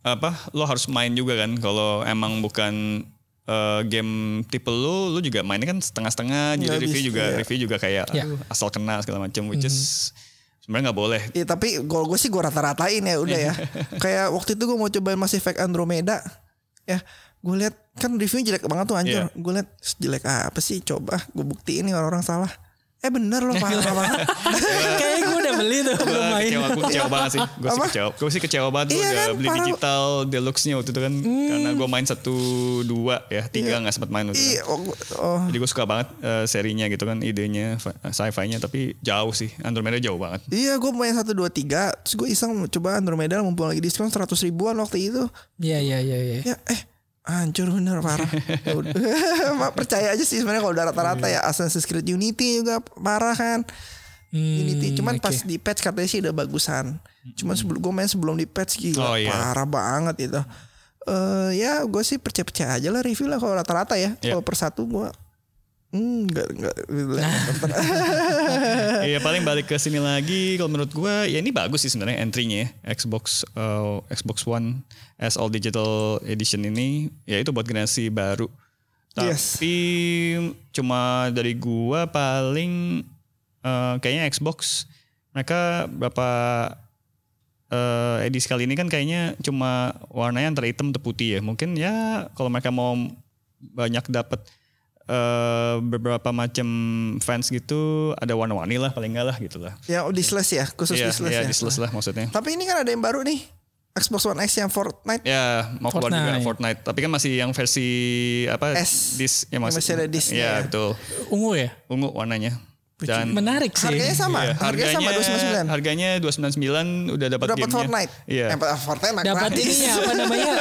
[SPEAKER 3] apa lo harus main juga kan kalau emang bukan eh, game tipe lo lo juga mainnya kan setengah-setengah jadi
[SPEAKER 2] Nggak
[SPEAKER 3] review
[SPEAKER 2] bisa,
[SPEAKER 3] juga
[SPEAKER 2] ya.
[SPEAKER 3] review juga kayak aduh, asal kena segala macam which is sebenarnya nggak boleh
[SPEAKER 2] Ya, tapi kalau gue sih gue rata-ratain ya udah ya.
[SPEAKER 3] Iya.
[SPEAKER 2] Kayak waktu itu gue mau cobain Mass Effect Andromeda. Ya gue lihat kan reviewnya jelek banget tuh anjir.
[SPEAKER 3] Iya.
[SPEAKER 2] Gue lihat "Ss, jelek apa sih coba gue buktiin nih orang-orang salah. Eh bener loh parah banget.
[SPEAKER 3] Iya.
[SPEAKER 4] Kayaknya gue udah beli tuh
[SPEAKER 3] Gue
[SPEAKER 4] belum main.
[SPEAKER 3] kecewa, gue kecewa banget sih. Gue sih
[SPEAKER 2] Apa?
[SPEAKER 3] kecewa. Gue sih kecewa banget gue
[SPEAKER 2] Iya
[SPEAKER 3] udah
[SPEAKER 2] kan,
[SPEAKER 3] beli
[SPEAKER 2] parah. Hmm.
[SPEAKER 3] digital deluxe-nya waktu itu kan. Karena gue main satu dua ya, tiga nggak sempat main waktu itu.
[SPEAKER 2] Iya, oh, oh.
[SPEAKER 3] Jadi gue suka banget eh, serinya gitu kan, idenya, fa- sci-fi-nya tapi jauh sih. Andromeda jauh banget.
[SPEAKER 2] Iya, gue main satu dua tiga. Terus gue iseng coba Andromeda mumpung lagi diskon seratus ribuan waktu itu.
[SPEAKER 4] Iya iya iya iya.
[SPEAKER 2] Ya eh hancur bener parah. Ya udah. Mak, percaya aja sih sebenarnya kalau udah rata-rata
[SPEAKER 3] Iya.
[SPEAKER 2] ya Assassin's Creed Unity juga parah kan.
[SPEAKER 3] Hmm,
[SPEAKER 4] Hmm,
[SPEAKER 2] Unity cuman pas di patch katanya sih udah bagusan. Cuman sebelum gue main sebelum di patch gila
[SPEAKER 3] Oh, iya.
[SPEAKER 2] parah banget itu. Eh ya gue sih percaya-percaya aja lah review lah kalau rata-rata ya.
[SPEAKER 3] Iya.
[SPEAKER 2] Kalau per satu gue Hmm, enggak, enggak.
[SPEAKER 3] Nah. Iya paling balik ke sini lagi kalau menurut gue ya ini bagus sih sebenarnya entry-nya ya. Xbox uh, Xbox One S All Digital Edition ini ya itu buat generasi baru. Tapi
[SPEAKER 2] Yes.
[SPEAKER 3] cuma dari gua paling uh, kayaknya Xbox mereka berapa eh edisi kali ini kan kayaknya cuma warnanya antara hitam atau putih ya. Mungkin ya kalau mereka mau banyak dapat eh beberapa macam fans gitu ada warna-warni lah paling enggak lah gitu lah.
[SPEAKER 2] ya di slash ya, khusus
[SPEAKER 3] Iya,
[SPEAKER 2] di slash
[SPEAKER 3] iya,
[SPEAKER 2] ya.
[SPEAKER 3] di slash lah maksudnya.
[SPEAKER 2] Tapi ini kan ada yang baru nih. Xbox One X yang Fortnite
[SPEAKER 3] Ya, mau keluar juga
[SPEAKER 4] Fortnite.
[SPEAKER 3] Fortnite, tapi kan masih yang versi apa?
[SPEAKER 2] S.
[SPEAKER 3] Disc yang
[SPEAKER 2] Yang
[SPEAKER 3] masih,
[SPEAKER 2] masih ada disc-nya
[SPEAKER 3] Iya,
[SPEAKER 2] ya.
[SPEAKER 3] betul.
[SPEAKER 4] ungu ya.
[SPEAKER 3] Ungu warnanya. Dan
[SPEAKER 4] Menarik sih.
[SPEAKER 2] harganya sama,
[SPEAKER 3] iya,
[SPEAKER 2] harganya, sama 299.
[SPEAKER 3] Harganya 299 udah dapat
[SPEAKER 2] Udah dapat
[SPEAKER 3] gamenya.
[SPEAKER 2] Fortnite.
[SPEAKER 3] Iya.
[SPEAKER 2] Eh, Fortnite mah
[SPEAKER 4] Dapat
[SPEAKER 2] gratis.
[SPEAKER 4] ininya apa namanya?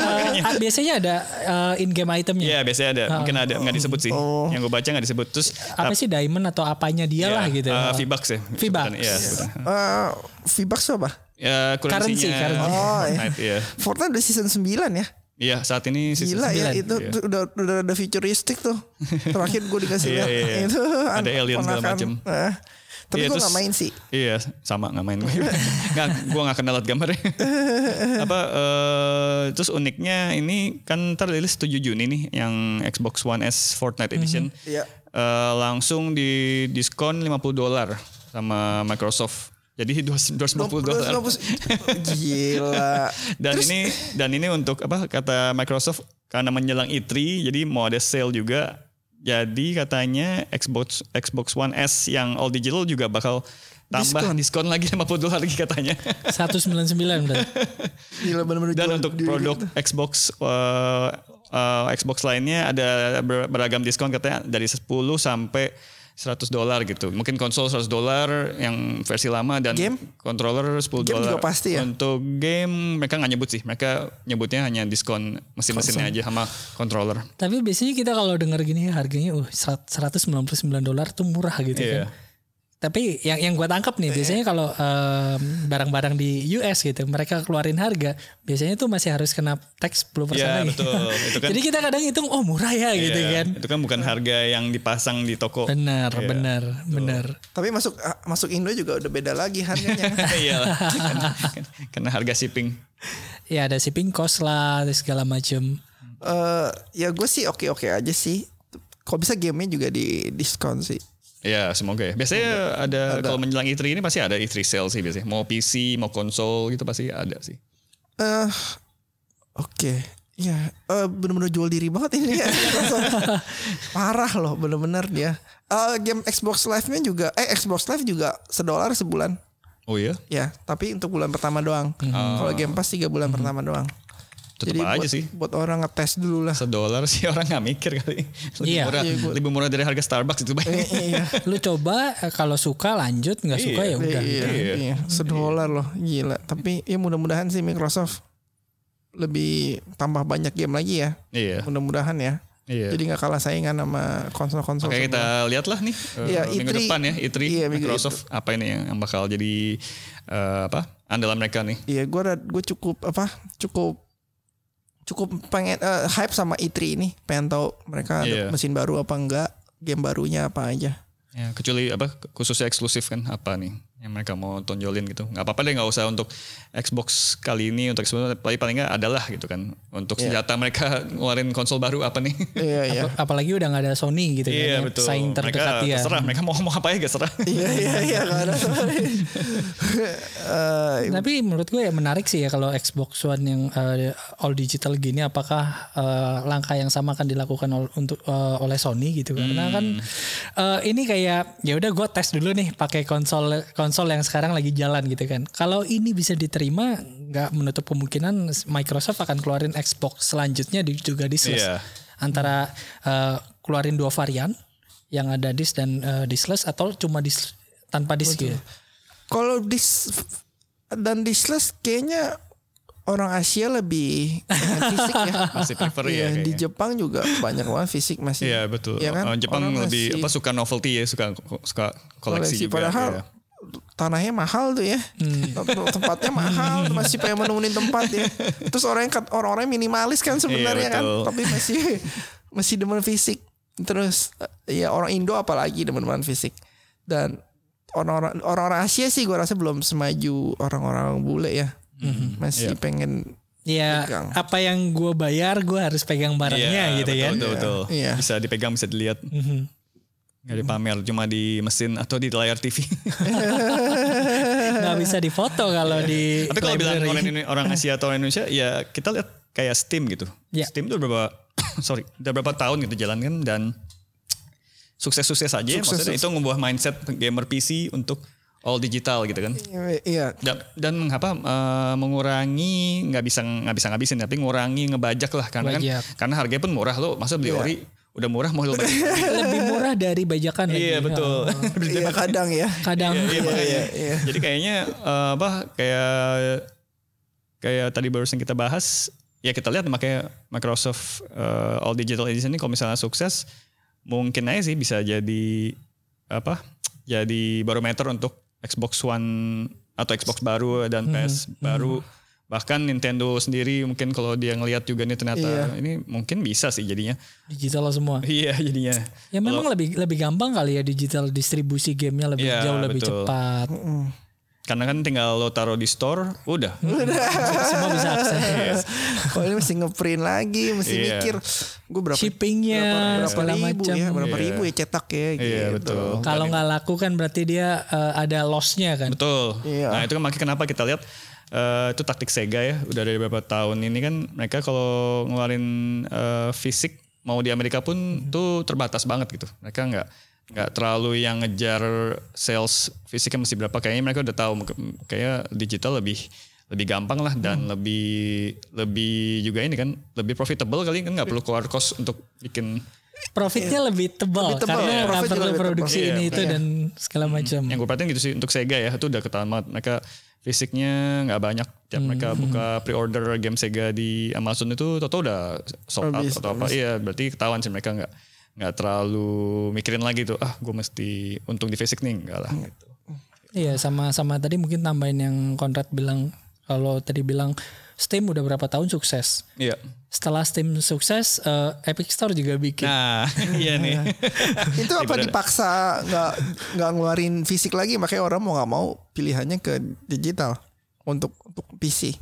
[SPEAKER 4] eh, biasanya ada in game itemnya.
[SPEAKER 3] Iya biasanya ada, mungkin ada nggak disebut sih.
[SPEAKER 2] Oh.
[SPEAKER 3] Yang gue baca nggak disebut. Terus
[SPEAKER 4] Ah. Apa sih diamond atau apanya dia lah gitu.
[SPEAKER 3] Uh, V-Bucks ya.
[SPEAKER 4] V-Bucks.
[SPEAKER 3] sebutannya. Iya. sebutan.
[SPEAKER 2] Eh, V-Bucks tuh apa?
[SPEAKER 3] Ya,
[SPEAKER 4] Currency,
[SPEAKER 3] kuransinya
[SPEAKER 4] currency.
[SPEAKER 2] Oh, iya.
[SPEAKER 3] Fortnite, iya.
[SPEAKER 2] Fortnite udah season 9 ya.
[SPEAKER 3] Iya, saat ini season
[SPEAKER 2] Gila ya
[SPEAKER 3] sembilan.
[SPEAKER 2] itu
[SPEAKER 3] Iya.
[SPEAKER 2] tuh udah udah ada futuristik tuh. Terakhir gue dikasih
[SPEAKER 3] Iya,
[SPEAKER 2] lihat
[SPEAKER 3] iya, iya.
[SPEAKER 2] itu
[SPEAKER 3] Ada
[SPEAKER 2] anak
[SPEAKER 3] alien segala
[SPEAKER 2] ponakan.
[SPEAKER 3] macem.
[SPEAKER 2] Eh, tapi
[SPEAKER 3] Iya,
[SPEAKER 2] gue
[SPEAKER 3] terus-
[SPEAKER 2] gak main sih.
[SPEAKER 3] Iya, sama nggak main gue. nggak, gue nggak kenal liat gambarnya. Apa? eh, terus uniknya ini kan terlilis 7 Juni nih yang Xbox One S Fortnite Edition.
[SPEAKER 2] Iya.
[SPEAKER 3] Eh, langsung di diskon 50 dolar sama Microsoft. Jadi 250 dolar.
[SPEAKER 2] 250. Gila.
[SPEAKER 3] Dan ini dan ini untuk apa kata Microsoft karena menjelang E3 jadi mau ada sale juga. Jadi katanya Xbox Xbox One S yang all digital juga bakal tambah diskon, lagi 50 dolar lagi katanya.
[SPEAKER 4] 199 berarti.
[SPEAKER 2] Gila bener-bener
[SPEAKER 3] Dan
[SPEAKER 2] jual
[SPEAKER 3] untuk
[SPEAKER 2] diri
[SPEAKER 3] produk
[SPEAKER 2] gitu.
[SPEAKER 3] Xbox uh, uh, Xbox lainnya ada ber- beragam diskon katanya dari 10 sampai 100 dolar gitu. Mungkin konsol 100 dolar yang versi lama dan
[SPEAKER 2] Game?
[SPEAKER 3] controller 10
[SPEAKER 2] Game
[SPEAKER 3] dolar.
[SPEAKER 2] juga pasti ya?
[SPEAKER 3] Untuk game mereka nggak nyebut sih. Mereka nyebutnya hanya diskon mesin-mesinnya aja sama controller.
[SPEAKER 4] Tapi biasanya kita kalau dengar gini harganya uh serat- 199 dolar tuh murah gitu
[SPEAKER 3] Iya.
[SPEAKER 4] kan. Tapi yang yang gua tangkap nih biasanya kalau em, barang-barang di US gitu mereka keluarin harga biasanya tuh masih harus kena tax 10%
[SPEAKER 3] Iya,
[SPEAKER 4] lagi.
[SPEAKER 3] betul. Itu kan-
[SPEAKER 4] Jadi kita kadang hitung oh murah ya gitu
[SPEAKER 3] Iya,
[SPEAKER 4] kan.
[SPEAKER 3] Itu kan bukan harga yang dipasang di toko.
[SPEAKER 4] Benar, benar, benar.
[SPEAKER 2] Tapi masuk ah, masuk Indo juga udah beda lagi harganya.
[SPEAKER 3] Iya. Karena- Karena harga shipping.
[SPEAKER 4] Ya ada shipping cost lah terus segala macem
[SPEAKER 2] Eh, ya gue sih oke-oke aja sih. Kalau bisa gamenya juga di diskon sih.
[SPEAKER 3] Ya semoga ya. Biasanya ada, kalau menjelang E3 ini pasti ada E3 sale sih biasanya. Mau PC, mau konsol gitu pasti ada sih.
[SPEAKER 2] Eh, Oke. Ya, eh, bener-bener jual diri banget ini. ya. Parah loh, bener-bener dia. Eh, game Xbox Live-nya juga, eh Xbox Live juga sedolar sebulan.
[SPEAKER 3] Oh iya.
[SPEAKER 2] Ya, tapi untuk bulan pertama doang. Kalau Game Pass tiga bulan pertama doang.
[SPEAKER 3] Hmm. Tetep
[SPEAKER 2] Jadi
[SPEAKER 3] aja
[SPEAKER 2] buat,
[SPEAKER 3] sih.
[SPEAKER 2] Buat orang ngetes dulu lah.
[SPEAKER 3] Sedolar sih orang nggak mikir kali. Lebih
[SPEAKER 4] Iya.
[SPEAKER 3] murah, lebih murah dari harga Starbucks itu banyak.
[SPEAKER 2] iya,
[SPEAKER 4] Lu coba eh, kalau suka lanjut nggak suka
[SPEAKER 3] Iya.
[SPEAKER 4] ya udah.
[SPEAKER 2] iya,
[SPEAKER 3] Iya.
[SPEAKER 2] iya. Sedolar loh, gila. Tapi ya mudah-mudahan sih Microsoft lebih tambah banyak game lagi ya.
[SPEAKER 3] iya.
[SPEAKER 2] Mudah-mudahan ya.
[SPEAKER 3] Iya.
[SPEAKER 2] Jadi nggak kalah saingan sama konsol-konsol.
[SPEAKER 3] Makanya kita lihatlah nih eh,
[SPEAKER 2] Iya,
[SPEAKER 3] minggu
[SPEAKER 2] E3.
[SPEAKER 3] depan ya E3
[SPEAKER 2] Iya, minggu
[SPEAKER 3] Microsoft apa ini yang, yang bakal jadi eh, apa andalan mereka nih.
[SPEAKER 2] Iya, gue gue cukup apa? Cukup cukup pengen eh, hype sama E3 ini. Pengen tahu mereka ada
[SPEAKER 3] Iya.
[SPEAKER 2] mesin baru apa enggak, game barunya apa aja.
[SPEAKER 3] Ya, kecuali apa khususnya eksklusif kan apa nih yang mereka mau tonjolin gitu nggak apa-apa deh nggak usah untuk Xbox kali ini untuk Xbox paling paling nggak adalah gitu kan untuk senjata mereka ngeluarin konsol baru apa nih
[SPEAKER 2] Iya, iya.
[SPEAKER 4] Apalagi udah nggak ada Sony gitu kan. ya, Saing terdekat
[SPEAKER 3] Iya, mereka
[SPEAKER 4] ya.
[SPEAKER 3] terserah mereka mau ngomong apa ya gak serah
[SPEAKER 2] Iya, iya, iya, nggak ada. Eh,
[SPEAKER 4] Tapi menurut gue ya menarik sih ya kalau Xbox One yang eh, all digital gini apakah eh, langkah yang sama akan dilakukan ol- untuk eh, oleh Sony gitu karena kan eh, ini kayak ya udah gue tes dulu nih pakai konsol konsol konsol yang sekarang lagi jalan gitu kan. Kalau ini bisa diterima, nggak menutup kemungkinan Microsoft akan keluarin Xbox selanjutnya di, juga di Slash.
[SPEAKER 3] Iya.
[SPEAKER 4] Antara eh, keluarin dua varian yang ada disk dan eh, diskless atau cuma disk tanpa disk gitu.
[SPEAKER 2] Kalau dis dan diskless kayaknya orang Asia lebih dengan fisik ya.
[SPEAKER 3] Masih prefer ya
[SPEAKER 2] Iya, di
[SPEAKER 3] kayaknya.
[SPEAKER 2] Jepang juga banyak banget fisik masih.
[SPEAKER 3] Iya betul.
[SPEAKER 2] Iya kan?
[SPEAKER 3] Eh, Jepang
[SPEAKER 2] Orang
[SPEAKER 3] lebih
[SPEAKER 2] masih
[SPEAKER 3] apa suka novelty ya, suka suka koleksi, juga.
[SPEAKER 2] Padahal
[SPEAKER 3] iya. Hmm.
[SPEAKER 2] tanahnya mahal tuh ya. Tem- Tempatnya mahal, masih pengen menemuin tempat ya. Terus orang orang-orang minimalis kan sebenarnya
[SPEAKER 3] Iya,
[SPEAKER 2] kan,
[SPEAKER 3] betul.
[SPEAKER 2] tapi masih masih demen fisik. Terus eh, ya orang Indo apalagi demen-demen fisik. Dan orang-orang orang-orang Asia sih gua rasa belum semaju orang-orang bule ya.
[SPEAKER 3] Hmm.
[SPEAKER 2] Masih
[SPEAKER 3] Iya.
[SPEAKER 2] pengen
[SPEAKER 4] Ya
[SPEAKER 2] Pegang.
[SPEAKER 4] apa yang gue bayar gue harus pegang barangnya
[SPEAKER 3] Iya,
[SPEAKER 4] gitu
[SPEAKER 3] betul,
[SPEAKER 4] kan.
[SPEAKER 3] Betul, betul.
[SPEAKER 2] Iya.
[SPEAKER 3] Bisa dipegang, bisa dilihat.
[SPEAKER 4] Mhm.
[SPEAKER 3] Nggak dipamer, cuma di mesin atau di layar TV.
[SPEAKER 4] Nggak bisa difoto kalau di
[SPEAKER 3] Iya. Tapi kalau bilang
[SPEAKER 4] library.
[SPEAKER 3] orang, Indo- orang Asia atau orang Indonesia, ya kita lihat kayak Steam gitu.
[SPEAKER 4] Iya.
[SPEAKER 3] Steam itu berapa, sorry, udah berapa tahun gitu jalan kan dan sukses-sukses aja. maksudnya itu ngebuah mindset gamer PC untuk all digital gitu kan.
[SPEAKER 2] iya
[SPEAKER 3] Dan, dan apa eh, mengurangi nggak bisa nggak bisa ngabisin tapi ngurangi ngebajak lah karena kan
[SPEAKER 4] Bajak.
[SPEAKER 3] karena harganya pun murah lo masa beli ori udah murah mau lo bajak
[SPEAKER 4] lebih murah dari bajakan lagi. Oh,
[SPEAKER 3] iya betul
[SPEAKER 2] iya kadang ya.
[SPEAKER 4] Kadang
[SPEAKER 3] Iya, iya, makanya. Jadi kayaknya eh, apa kayak kayak tadi barusan kita bahas ya kita lihat makanya Microsoft eh, All Digital Edition ini kalau misalnya sukses mungkin aja sih bisa jadi apa jadi barometer untuk Xbox One atau Xbox baru dan PS baru bahkan Nintendo sendiri mungkin kalau dia ngelihat juga nih ternyata ini mungkin bisa sih jadinya
[SPEAKER 4] digital semua.
[SPEAKER 3] iya jadinya
[SPEAKER 4] Ya memang lebih lebih gampang kali ya digital distribusi gamenya lebih
[SPEAKER 3] Iya,
[SPEAKER 4] jauh lebih
[SPEAKER 3] betul.
[SPEAKER 4] cepat.
[SPEAKER 3] karena kan tinggal lo taruh di store udah
[SPEAKER 4] Semua bisa akses.
[SPEAKER 2] Kalau ini mesti ngeprint lagi, mesti
[SPEAKER 3] Iya.
[SPEAKER 2] mikir gue berapa
[SPEAKER 4] Shippingnya
[SPEAKER 2] berapa, berapa
[SPEAKER 4] segala
[SPEAKER 2] ribu
[SPEAKER 4] macam.
[SPEAKER 2] ya, berapa ribu ya cetak ya gitu.
[SPEAKER 3] iya betul
[SPEAKER 4] Kalau nggak laku kan berarti dia eh, ada lossnya kan.
[SPEAKER 3] Betul.
[SPEAKER 2] Iya.
[SPEAKER 3] Nah itu kan makanya kenapa kita lihat eh, itu taktik Sega ya. Udah dari beberapa tahun ini kan mereka kalau ngeluarin eh, fisik mau di Amerika pun tuh terbatas banget gitu. Mereka nggak nggak terlalu yang ngejar sales fisiknya mesti berapa. Kayaknya mereka udah tahu mungkin- kayaknya digital lebih lebih gampang lah dan lebih lebih juga ini kan lebih profitable kali kan nggak perlu keluar cost untuk bikin
[SPEAKER 4] Profitnya lebih
[SPEAKER 2] Iya.
[SPEAKER 4] tebal,
[SPEAKER 2] Lebih tebal,
[SPEAKER 4] karena
[SPEAKER 2] profit
[SPEAKER 4] nggak
[SPEAKER 2] juga
[SPEAKER 4] perlu
[SPEAKER 2] lebih
[SPEAKER 4] produksi
[SPEAKER 3] tebal.
[SPEAKER 4] ini
[SPEAKER 3] Iya,
[SPEAKER 4] itu dan segala macam.
[SPEAKER 3] yang gue perhatiin gitu sih untuk Sega ya itu udah ketahuan banget mereka fisiknya nggak banyak
[SPEAKER 2] Hmm.
[SPEAKER 3] tiap mereka buka pre-order game Sega di Amazon itu toto udah sold out
[SPEAKER 2] Habis,
[SPEAKER 3] atau apa iya berarti ketahuan sih mereka nggak nggak terlalu mikirin lagi tuh ah gue mesti untung di fisik nih enggak
[SPEAKER 2] Hmm.
[SPEAKER 3] lah gitu.
[SPEAKER 4] Iya sama sama tadi mungkin tambahin yang Konrad bilang kalau tadi bilang Steam udah berapa tahun sukses.
[SPEAKER 3] iya
[SPEAKER 4] Setelah Steam sukses, eh, Epic Store juga bikin.
[SPEAKER 3] nah iya nih
[SPEAKER 2] Itu
[SPEAKER 3] Iya,
[SPEAKER 2] apa dipaksa nggak nggak ngeluarin fisik lagi makanya orang mau nggak mau pilihannya ke digital untuk untuk PC.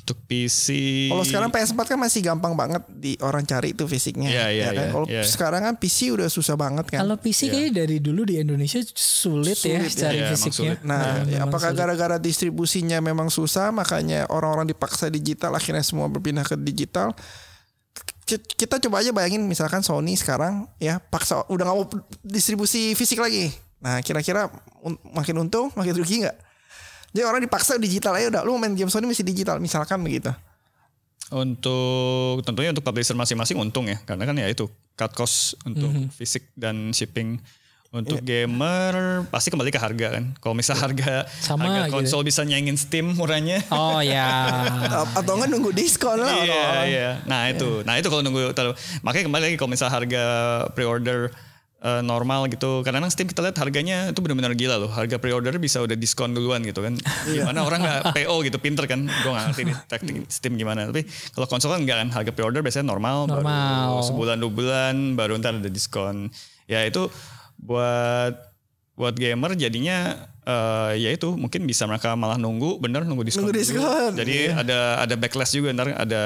[SPEAKER 3] untuk PC
[SPEAKER 2] Kalau sekarang PS4 kan masih gampang banget di orang cari itu fisiknya.
[SPEAKER 3] Iya, iya,
[SPEAKER 2] ya kan?
[SPEAKER 3] iya,
[SPEAKER 2] Kalau
[SPEAKER 3] iya.
[SPEAKER 2] sekarang kan PC udah susah banget kan.
[SPEAKER 4] Kalau PC kayaknya dari dulu di Indonesia sulit, ya
[SPEAKER 2] Sulit ya.
[SPEAKER 4] cari
[SPEAKER 3] Iya, emang
[SPEAKER 4] fisiknya.
[SPEAKER 3] sulit.
[SPEAKER 2] Nah,
[SPEAKER 4] Iya,
[SPEAKER 2] ya,
[SPEAKER 4] memang
[SPEAKER 2] apakah
[SPEAKER 4] sulit.
[SPEAKER 2] gara-gara distribusinya memang susah, makanya orang-orang dipaksa digital, akhirnya semua berpindah ke digital. Ki- Kita coba aja bayangin, misalkan Sony sekarang ya paksa udah nggak mau distribusi fisik lagi. Nah, kira-kira un- makin untung, makin rugi nggak? Jadi orang dipaksa digital aja udah, lu main game Sony mesti digital, misalkan begitu.
[SPEAKER 3] untuk tentunya untuk publisher masing-masing untung ya karena kan ya itu cut cost untuk fisik dan shipping untuk gamer pasti kembali ke harga kan kalau misal harga
[SPEAKER 4] Sama
[SPEAKER 3] harga
[SPEAKER 4] gitu.
[SPEAKER 3] konsol bisa nyaingin Steam murahnya
[SPEAKER 4] Oh ya.
[SPEAKER 2] A- Atau nggak nunggu diskon lah
[SPEAKER 3] Iya,
[SPEAKER 2] orang-orang.
[SPEAKER 3] iya. Nah itu, nah itu kalau nunggu, terlalu- makanya kembali lagi kalau misal harga pre-order eh, normal gitu, karena kadang Steam kita lihat harganya itu benar-benar gila loh, harga pre-order bisa udah diskon duluan gitu kan, gimana orang nggak PO gitu, pinter kan, gue nggak ngerti nih taktik Steam gimana, tapi kalau konsol kan nggak kan, harga pre-order biasanya normal,
[SPEAKER 4] Normal.
[SPEAKER 3] baru sebulan dua bulan, baru ntar ada diskon, ya itu buat buat gamer jadinya eh, ya itu mungkin bisa mereka malah nunggu bener nunggu diskon,
[SPEAKER 2] Nunggu
[SPEAKER 3] dulu.
[SPEAKER 2] diskon.
[SPEAKER 3] jadi ada ada backlash juga ntar ada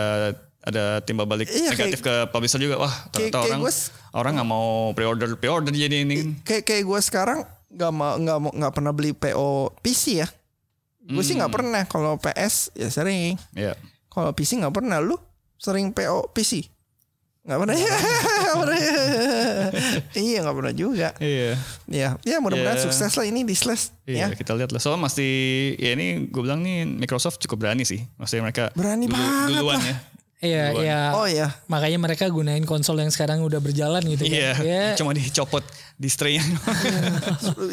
[SPEAKER 3] ada timbal balik
[SPEAKER 2] Iya,
[SPEAKER 3] negatif ke publisher juga wah
[SPEAKER 2] kayak- kayak
[SPEAKER 3] ternyata orang
[SPEAKER 2] gua s-
[SPEAKER 3] orang nggak mau pre-order pre-order jadi ini kan.
[SPEAKER 2] kayak kayak gue sekarang nggak mau nggak mau nggak pernah beli PO PC ya gue sih
[SPEAKER 4] Hmm.
[SPEAKER 2] nggak pernah kalau PS ya sering
[SPEAKER 3] Iya.
[SPEAKER 2] kalau PC nggak pernah lu sering PO PC nggak pernah Nggak pernah. iya nggak pernah juga
[SPEAKER 3] Iya.
[SPEAKER 2] ya ya mudah-mudahan
[SPEAKER 3] Iya.
[SPEAKER 2] sukses lah ini di slash ya
[SPEAKER 3] Iya, kita lihat lah. Soalnya mesti ya ini gue bilang nih Microsoft cukup berani sih. Maksudnya mereka
[SPEAKER 2] Berani banget
[SPEAKER 3] duluan ya.
[SPEAKER 4] Iya,
[SPEAKER 3] Duluan.
[SPEAKER 4] iya.
[SPEAKER 2] oh ya
[SPEAKER 4] Makanya mereka gunain konsol yang sekarang udah berjalan gitu
[SPEAKER 3] Iya,
[SPEAKER 4] kan. Ya,
[SPEAKER 3] cuma dicopot display-nya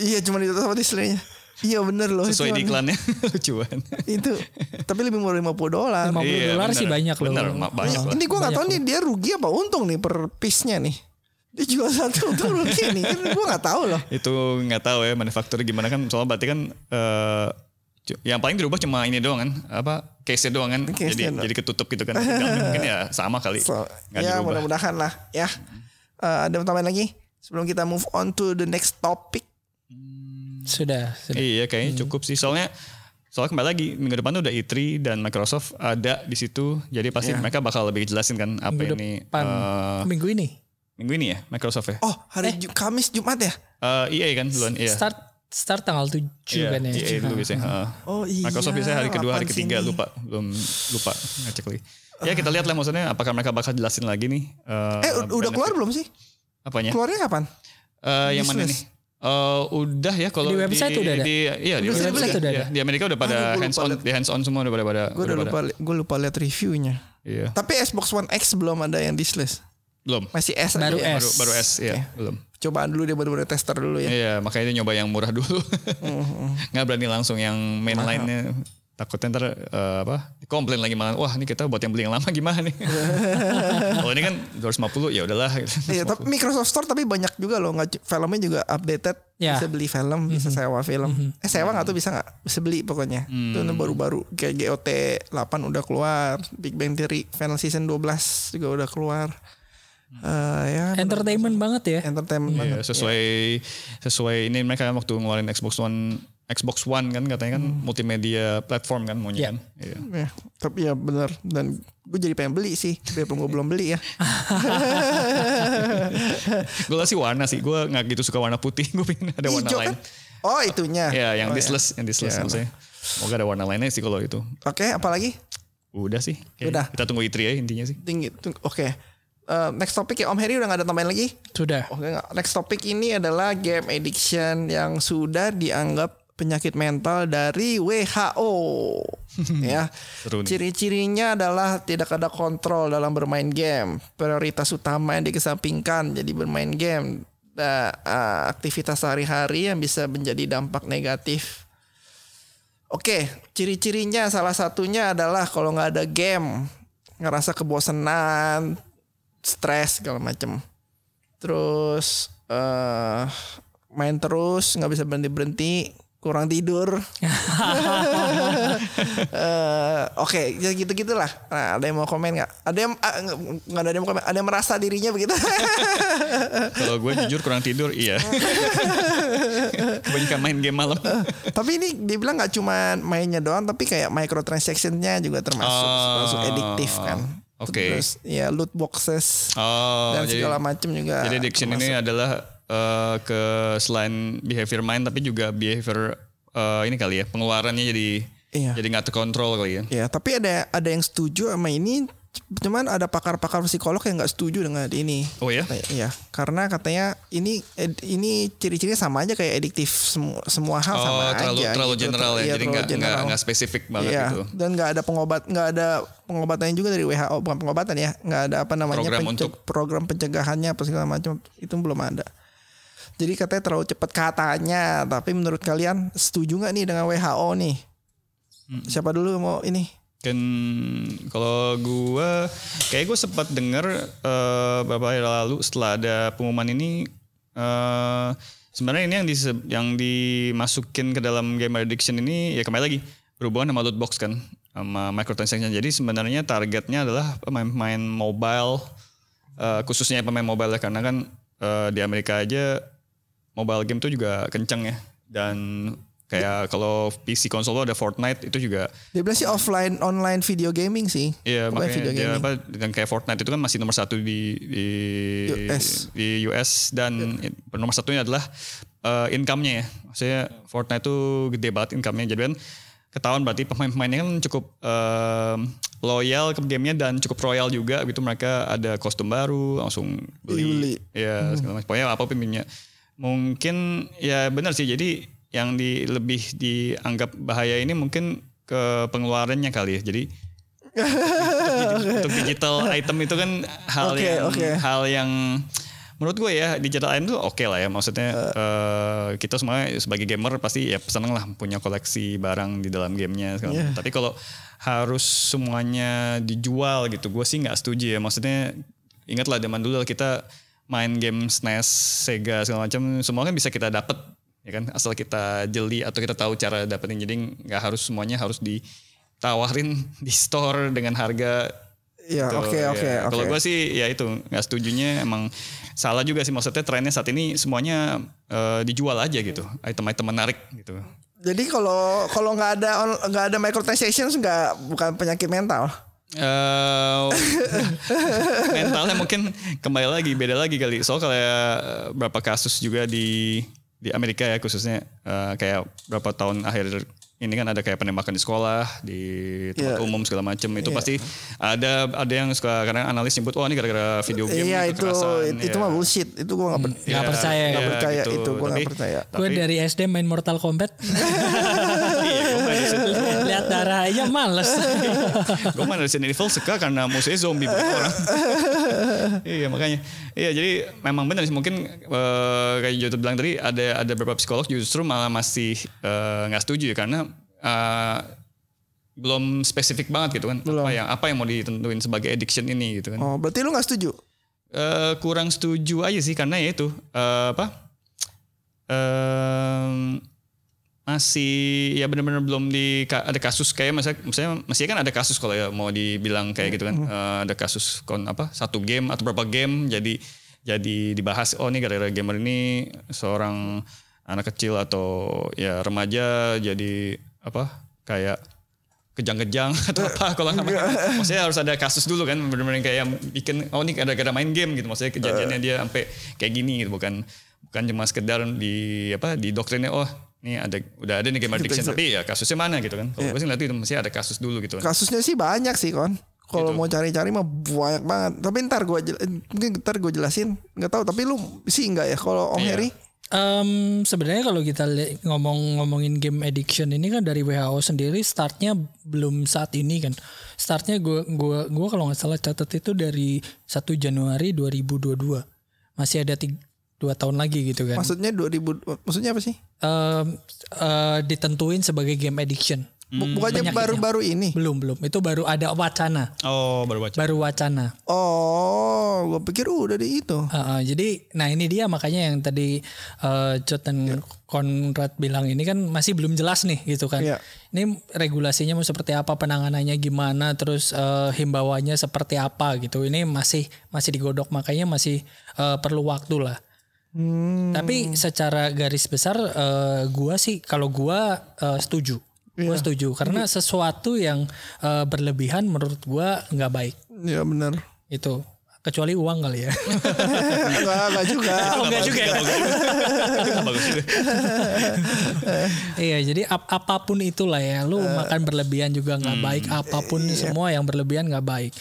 [SPEAKER 2] iya cuma di sama displaynya iya bener loh itu
[SPEAKER 3] sesuai di
[SPEAKER 2] aneh.
[SPEAKER 3] iklannya. Lucu banget.
[SPEAKER 2] itu tapi lebih murah 50 dolar
[SPEAKER 4] 50
[SPEAKER 3] Iya,
[SPEAKER 4] dolar sih
[SPEAKER 3] bener.
[SPEAKER 4] banyak loh.
[SPEAKER 3] Bener, ma- banyak
[SPEAKER 4] Iya.
[SPEAKER 3] lah.
[SPEAKER 2] ini gue nggak tahu nih dia rugi apa untung nih per piece-nya nih dia jual satu untung rugi nih gue nggak tahu loh
[SPEAKER 3] Itu nggak tahu ya manufaktur gimana kan soalnya berarti kan eh, cu- yang paling dirubah cuma ini doang kan apa case-nya doang kan
[SPEAKER 2] Case-nya
[SPEAKER 3] jadi
[SPEAKER 2] doang.
[SPEAKER 3] jadi ketutup gitu kan Tapi dalamnya mungkin ya sama kali
[SPEAKER 2] So,
[SPEAKER 3] nggak
[SPEAKER 2] ya
[SPEAKER 3] dirubah
[SPEAKER 2] mudah-mudahan lah ya. Eh, ada tambahan lagi sebelum kita move on to the next topic.
[SPEAKER 4] Sudah, sudah.
[SPEAKER 3] Iya kayaknya
[SPEAKER 4] Hmm.
[SPEAKER 3] cukup sih. Soalnya soalnya kembali lagi minggu depan tuh udah E3 dan Microsoft ada di situ. Jadi pasti mereka bakal lebih jelasin kan apa
[SPEAKER 4] Iya. Minggu
[SPEAKER 3] ini
[SPEAKER 4] depan.
[SPEAKER 3] eh,
[SPEAKER 4] Minggu ini
[SPEAKER 3] minggu ini ya Microsoft ya.
[SPEAKER 2] Oh, hari Ju- Kamis Jumat ya?
[SPEAKER 3] Eh, EA kan duluan iya.
[SPEAKER 4] start start tanggal 7
[SPEAKER 3] Iya,
[SPEAKER 4] kan ya.
[SPEAKER 3] EA dulu biasanya. eh. heeh.
[SPEAKER 2] Oh iya.
[SPEAKER 3] Microsoft biasanya hari kedua, hari
[SPEAKER 2] kapan
[SPEAKER 3] ketiga
[SPEAKER 2] sih ini?
[SPEAKER 3] lupa belum lupa ngecek lagi. Ya kita lihat lah maksudnya apakah mereka bakal jelasin lagi nih. eh,
[SPEAKER 2] Eh, u- udah
[SPEAKER 3] benefit-
[SPEAKER 2] keluar belum sih?
[SPEAKER 3] Apanya?
[SPEAKER 2] Keluarnya kapan?
[SPEAKER 3] Eh, yang mana nih?
[SPEAKER 2] Business.
[SPEAKER 3] Eh, udah ya kalau
[SPEAKER 4] Di website udah ada?
[SPEAKER 3] di- iya di,
[SPEAKER 2] Udah
[SPEAKER 3] website
[SPEAKER 2] website
[SPEAKER 4] udah
[SPEAKER 3] udah
[SPEAKER 4] ada?
[SPEAKER 3] Iya, di Amerika udah
[SPEAKER 2] Aduh,
[SPEAKER 3] pada
[SPEAKER 2] gua
[SPEAKER 3] hands
[SPEAKER 2] lupa
[SPEAKER 3] on
[SPEAKER 2] lihat.
[SPEAKER 3] di hands on semua udah pada pada
[SPEAKER 2] Gue udah
[SPEAKER 3] pada-
[SPEAKER 2] lupa gue lupa lihat reviewnya.
[SPEAKER 3] Iya.
[SPEAKER 2] Tapi S Box One X belum ada yang disless.
[SPEAKER 3] Belum.
[SPEAKER 2] Masih S aja
[SPEAKER 4] Baru
[SPEAKER 2] ya?
[SPEAKER 3] Baru, baru S, ya belum.
[SPEAKER 2] Cobaan dulu dia baru-baru tester dulu ya. Mm-hmm.
[SPEAKER 3] Iya, makanya dia nyoba yang murah dulu. Nggak berani langsung yang main lainnya. Takutnya ntar eh, apa? Komplain lagi malah. Wah, ini kita buat yang beli yang lama gimana nih? Kalau ini kan 250 ya udahlah.
[SPEAKER 2] Iya, tapi Microsoft Store tapi banyak juga loh, nggak cu- filmnya juga updated.
[SPEAKER 4] Ya.
[SPEAKER 2] Bisa beli film,
[SPEAKER 3] Mhm.
[SPEAKER 2] bisa sewa film. Eh sewa nggak tuh bisa nggak? Bisa beli pokoknya.
[SPEAKER 3] Hmm.
[SPEAKER 2] Itu yang baru-baru kayak GOT 8 udah keluar, Big Bang Theory final season 12 juga udah keluar. Eh ya
[SPEAKER 4] Entertainment banget ya.
[SPEAKER 2] entertainment banget.
[SPEAKER 3] Iya, sesuai sesuai ini mereka kan waktu ngeluarin Xbox One Xbox One kan katanya kan
[SPEAKER 2] Hmm.
[SPEAKER 3] multimedia platform kan maunya
[SPEAKER 4] Iya.
[SPEAKER 3] kan. Iya.
[SPEAKER 2] Ya, tapi ya benar dan gue jadi pengen beli sih, biarpun gue belum beli ya.
[SPEAKER 3] Gue sih warna sih. Gue nggak gitu suka warna putih. Gue pengen ada warna
[SPEAKER 2] Hijau
[SPEAKER 3] lain.
[SPEAKER 2] kan? Oh itunya.
[SPEAKER 3] Ya, yang
[SPEAKER 2] Oh,
[SPEAKER 3] distless, yang distless
[SPEAKER 2] Iya,
[SPEAKER 3] maksudnya. Semoga ada warna lainnya sih kalau itu.
[SPEAKER 2] Oke, apalagi?
[SPEAKER 3] Udah sih. Oke,
[SPEAKER 2] Udah.
[SPEAKER 3] Kita tunggu E3 ya intinya sih.
[SPEAKER 2] Tinggi. tung- Oke. Eh, next topic ya Om Heri udah gak ada tambahan lagi?
[SPEAKER 4] Sudah.
[SPEAKER 2] Oke, nggak. next topik ini adalah game addiction yang sudah dianggap penyakit mental dari WHO. ya.
[SPEAKER 3] Seru nih.
[SPEAKER 2] Ciri-cirinya adalah tidak ada kontrol dalam bermain game. Prioritas utama yang dikesampingkan jadi bermain game. Da- eh, aktivitas sehari-hari yang bisa menjadi dampak negatif. Oke, ciri-cirinya salah satunya adalah kalau nggak ada game, ngerasa kebosanan, stres segala macam terus eh main terus nggak bisa berhenti berhenti kurang tidur Eh, oke ya gitu gitulah nah, ada yang mau komen nggak ada yang ah, nggak nggak ada yang mau komen ada yang merasa dirinya begitu
[SPEAKER 3] Kalau gue jujur kurang tidur, iya. Kebanyakan main game malam.
[SPEAKER 2] tapi ini dibilang nggak cuma mainnya doang tapi kayak microtransactionnya juga termasuk
[SPEAKER 3] Ah,
[SPEAKER 2] termasuk adiktif kan
[SPEAKER 3] oke.
[SPEAKER 2] terus ya loot boxes
[SPEAKER 3] Oh,
[SPEAKER 2] dan
[SPEAKER 3] jadi,
[SPEAKER 2] segala macam juga
[SPEAKER 3] jadi addiction ini ya? adalah eh, ke selain behavior main tapi juga behavior eh, ini kali ya pengeluarannya jadi
[SPEAKER 2] Iya.
[SPEAKER 3] jadi nggak terkontrol kali ya.
[SPEAKER 2] Ya, tapi ada ada yang setuju sama ini, cuman ada pakar-pakar psikolog yang nggak setuju dengan ini.
[SPEAKER 3] Oh ya?
[SPEAKER 2] Iya, karena katanya ini ed- ini ciri-cirinya sama aja kayak adiktif semua semua hal sama
[SPEAKER 3] Oh,
[SPEAKER 2] aja.
[SPEAKER 3] terlalu terlalu
[SPEAKER 2] gitu.
[SPEAKER 3] general ya,
[SPEAKER 2] Iya,
[SPEAKER 3] jadi
[SPEAKER 2] terlalu
[SPEAKER 3] nggak nggak
[SPEAKER 2] general.
[SPEAKER 3] nggak spesifik banget
[SPEAKER 2] Iya,
[SPEAKER 3] gitu.
[SPEAKER 2] dan nggak ada pengobat nggak ada pengobatannya juga dari WHO bukan pengobatan ya nggak ada apa namanya
[SPEAKER 3] Program
[SPEAKER 2] pence-
[SPEAKER 3] untuk-
[SPEAKER 2] program pencegahannya apa segala macam itu belum ada jadi katanya terlalu cepat katanya tapi menurut kalian setuju nggak nih dengan WHO nih
[SPEAKER 3] Hmm.
[SPEAKER 2] siapa dulu mau ini
[SPEAKER 3] Kan kalau gua kayak gue sempat dengar eh, beberapa hari lalu setelah ada pengumuman ini eh sebenarnya ini yang di yang dimasukin ke dalam game addiction ini ya kembali lagi berhubungan sama loot box kan sama microtransaction. Jadi sebenarnya targetnya adalah pemain-pemain mobile eh, khususnya pemain mobile ya karena kan eh, di Amerika aja mobile game tuh juga kenceng ya dan kayak kalau PC konsol lo ada Fortnite itu juga
[SPEAKER 2] Dia bilang sih offline online video gaming sih.
[SPEAKER 3] Hmm. Iya
[SPEAKER 2] Pokoknya
[SPEAKER 3] makanya dia apa dengan kayak Fortnite itu kan masih nomor satu di di
[SPEAKER 2] US.
[SPEAKER 3] di US dan nomor satunya adalah eh, income-nya ya. Maksudnya Fortnite itu gede banget income-nya jadi kan ketahuan berarti pemain-pemainnya kan cukup em, loyal ke gamenya dan cukup royal juga gitu mereka ada kostum baru langsung
[SPEAKER 2] Beli.
[SPEAKER 3] beli ya segala macam pokoknya apa punya mungkin ya benar sih jadi yang di lebih dianggap bahaya ini mungkin ke pengeluarannya kali ya jadi untuk digital item itu kan hal
[SPEAKER 2] Oke,
[SPEAKER 3] yang
[SPEAKER 2] oke.
[SPEAKER 3] hal yang menurut gue ya digital item tuh oke lah ya maksudnya eh, kita semua sebagai gamer pasti ya seneng lah punya koleksi barang di dalam gamenya segala macam. tapi kalau harus semuanya dijual gitu gue sih nggak setuju ya maksudnya ingatlah zaman dulu kita main game SNES Sega segala macam semua kan bisa kita dapat ya kan asal kita jeli atau kita tahu cara dapetin jadi nggak harus semuanya harus ditawarin di store dengan harga
[SPEAKER 2] Ya,
[SPEAKER 3] Gitu,
[SPEAKER 2] oke,
[SPEAKER 3] ya.
[SPEAKER 2] oke,
[SPEAKER 3] Kalau
[SPEAKER 2] oke.
[SPEAKER 3] gue sih ya itu nggak setujunya emang salah juga sih maksudnya trennya saat ini semuanya eh, dijual aja gitu item-item menarik gitu.
[SPEAKER 2] Jadi kalau kalau nggak ada on- nggak ada microtransaction nggak bukan penyakit mental.
[SPEAKER 3] eh mentalnya mungkin kembali lagi beda lagi kali. Soal kayak eh, berapa kasus juga di di Amerika ya khususnya eh, kayak berapa tahun akhir ini kan ada kayak penembakan di sekolah di tempat
[SPEAKER 2] Iya.
[SPEAKER 3] umum segala macam itu pasti ada ada yang suka karena analis nyebut wah ini gara-gara video game
[SPEAKER 2] Iya itu
[SPEAKER 3] kekerasan."
[SPEAKER 2] itu
[SPEAKER 3] Ya.
[SPEAKER 2] mah bullshit. Itu gua nggak per-
[SPEAKER 4] Nggak percaya
[SPEAKER 2] Iya, nggak
[SPEAKER 3] ya,
[SPEAKER 2] percaya
[SPEAKER 3] gitu.
[SPEAKER 2] itu gua nggak
[SPEAKER 3] Tapi-
[SPEAKER 2] percaya.
[SPEAKER 4] Gue dari SD main Mortal Kombat
[SPEAKER 3] Iya, gue main Resident-
[SPEAKER 4] lihat darah aja males.
[SPEAKER 3] gue main Resident Evil suka karena musuhnya zombie bukan orang. iya makanya. Iya jadi memang benar sih mungkin eh, kayak Joto bilang tadi ada ada beberapa psikolog justru malah masih eh, nggak setuju ya karena eh, belum spesifik banget gitu kan apa yang apa yang mau ditentuin sebagai addiction ini gitu kan.
[SPEAKER 2] Oh berarti lu nggak setuju?
[SPEAKER 3] Eh, kurang setuju aja sih karena ya itu eh, apa Em, masih ya benar-benar belum di ka- ada kasus kayak masa misalnya masih kan ada kasus kalau ya mau dibilang kayak gitu kan Eh, ada kasus kon apa satu game atau berapa game jadi jadi dibahas oh ini gara-gara gamer ini seorang anak kecil atau ya remaja jadi apa kayak kejang-kejang atau apa kalau nggak maksudnya- maksudnya harus ada kasus dulu kan benar-benar yang kayak bikin oh ini gara-gara main game gitu maksudnya kejadiannya
[SPEAKER 4] Eh.
[SPEAKER 3] dia sampai kayak gini gitu bukan bukan cuma sekedar di apa di doktrinnya oh ini ada udah ada nih game
[SPEAKER 4] Gitu,
[SPEAKER 3] addiction tapi ya kasusnya mana gitu kan
[SPEAKER 4] Iya.
[SPEAKER 3] kalau gue sih ngeliat itu mesti ada kasus dulu gitu kan
[SPEAKER 2] Kasusnya sih banyak sih kon. Kalau
[SPEAKER 3] Gitu.
[SPEAKER 2] mau cari-cari mah banyak banget. Tapi ntar gua jel- eh, mungkin ntar gua jelasin. Nggak tahu. Tapi lu sih nggak ya kalau Om
[SPEAKER 3] Iya.
[SPEAKER 2] Heri?
[SPEAKER 4] Em, Sebenarnya kalau kita li- ngomong-ngomongin game addiction ini kan dari WHO sendiri startnya belum saat ini kan. Startnya gue gua gua kalau nggak salah catat itu dari 1 Januari 2022 masih ada tiga, dua tahun lagi gitu kan.
[SPEAKER 2] Maksudnya 2000 maksudnya apa sih?
[SPEAKER 4] Em, eh, ditentuin sebagai game addiction.
[SPEAKER 2] Bu- Bukannya
[SPEAKER 4] Hmm, Penyakitnya.
[SPEAKER 2] baru-baru ini?
[SPEAKER 4] Belum belum itu baru ada wacana,
[SPEAKER 3] oh baru baca
[SPEAKER 4] baru wacana.
[SPEAKER 2] Oh, gua pikir udah di itu.
[SPEAKER 4] Uh, uh, jadi, nah ini dia makanya yang tadi uh, Jot dan Konrad bilang ini kan masih belum jelas nih gitu kan.
[SPEAKER 2] Iya.
[SPEAKER 4] Ini regulasinya mau seperti apa, penanganannya gimana, terus uh, himbauannya seperti apa gitu. Ini masih masih digodok makanya masih uh, perlu waktu lah. Tapi secara garis besar eh, gua sih kalau gua eh, setuju. Gua setuju karena sesuatu yang eh, berlebihan menurut gua nggak baik
[SPEAKER 2] Ya benar.
[SPEAKER 4] itu. Kecuali uang kali ya.
[SPEAKER 2] Enggak, enggak juga.
[SPEAKER 4] Oh, enggak juga ya.
[SPEAKER 3] bagus juga.
[SPEAKER 4] Iya, jadi ap- apapun itulah ya. Lu makan berlebihan juga nggak baik, apapun semua yang berlebihan nggak baik.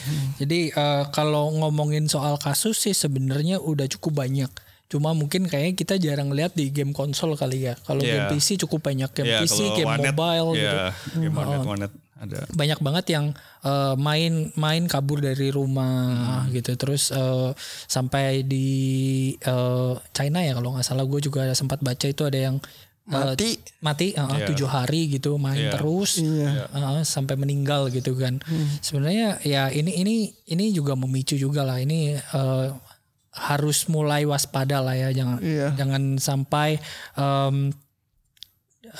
[SPEAKER 4] Jadi eh, kalau ngomongin soal kasus sih sebenarnya udah cukup banyak. Cuma mungkin kayaknya kita jarang lihat di game konsol kali ya. Kalau
[SPEAKER 3] Iya.
[SPEAKER 4] game PC cukup banyak
[SPEAKER 3] Ya,
[SPEAKER 4] game PC,
[SPEAKER 3] kalau
[SPEAKER 4] game
[SPEAKER 3] warnet,
[SPEAKER 4] mobile gitu.
[SPEAKER 3] ya, game warnet warnet ada
[SPEAKER 4] banyak banget yang eh, main main kabur dari rumah
[SPEAKER 3] Hmm.
[SPEAKER 4] gitu terus eh, sampai di eh, China ya kalau nggak salah gue juga sempat baca itu ada yang eh,
[SPEAKER 2] Mati.
[SPEAKER 4] mati eh, eh,
[SPEAKER 3] Iya.
[SPEAKER 4] tujuh hari gitu main
[SPEAKER 3] Iya.
[SPEAKER 4] terus eh, sampai meninggal gitu kan sebenarnya ya ini ini ini juga memicu juga lah ini eh, harus mulai waspada lah ya jangan
[SPEAKER 2] Iya.
[SPEAKER 4] jangan sampai em,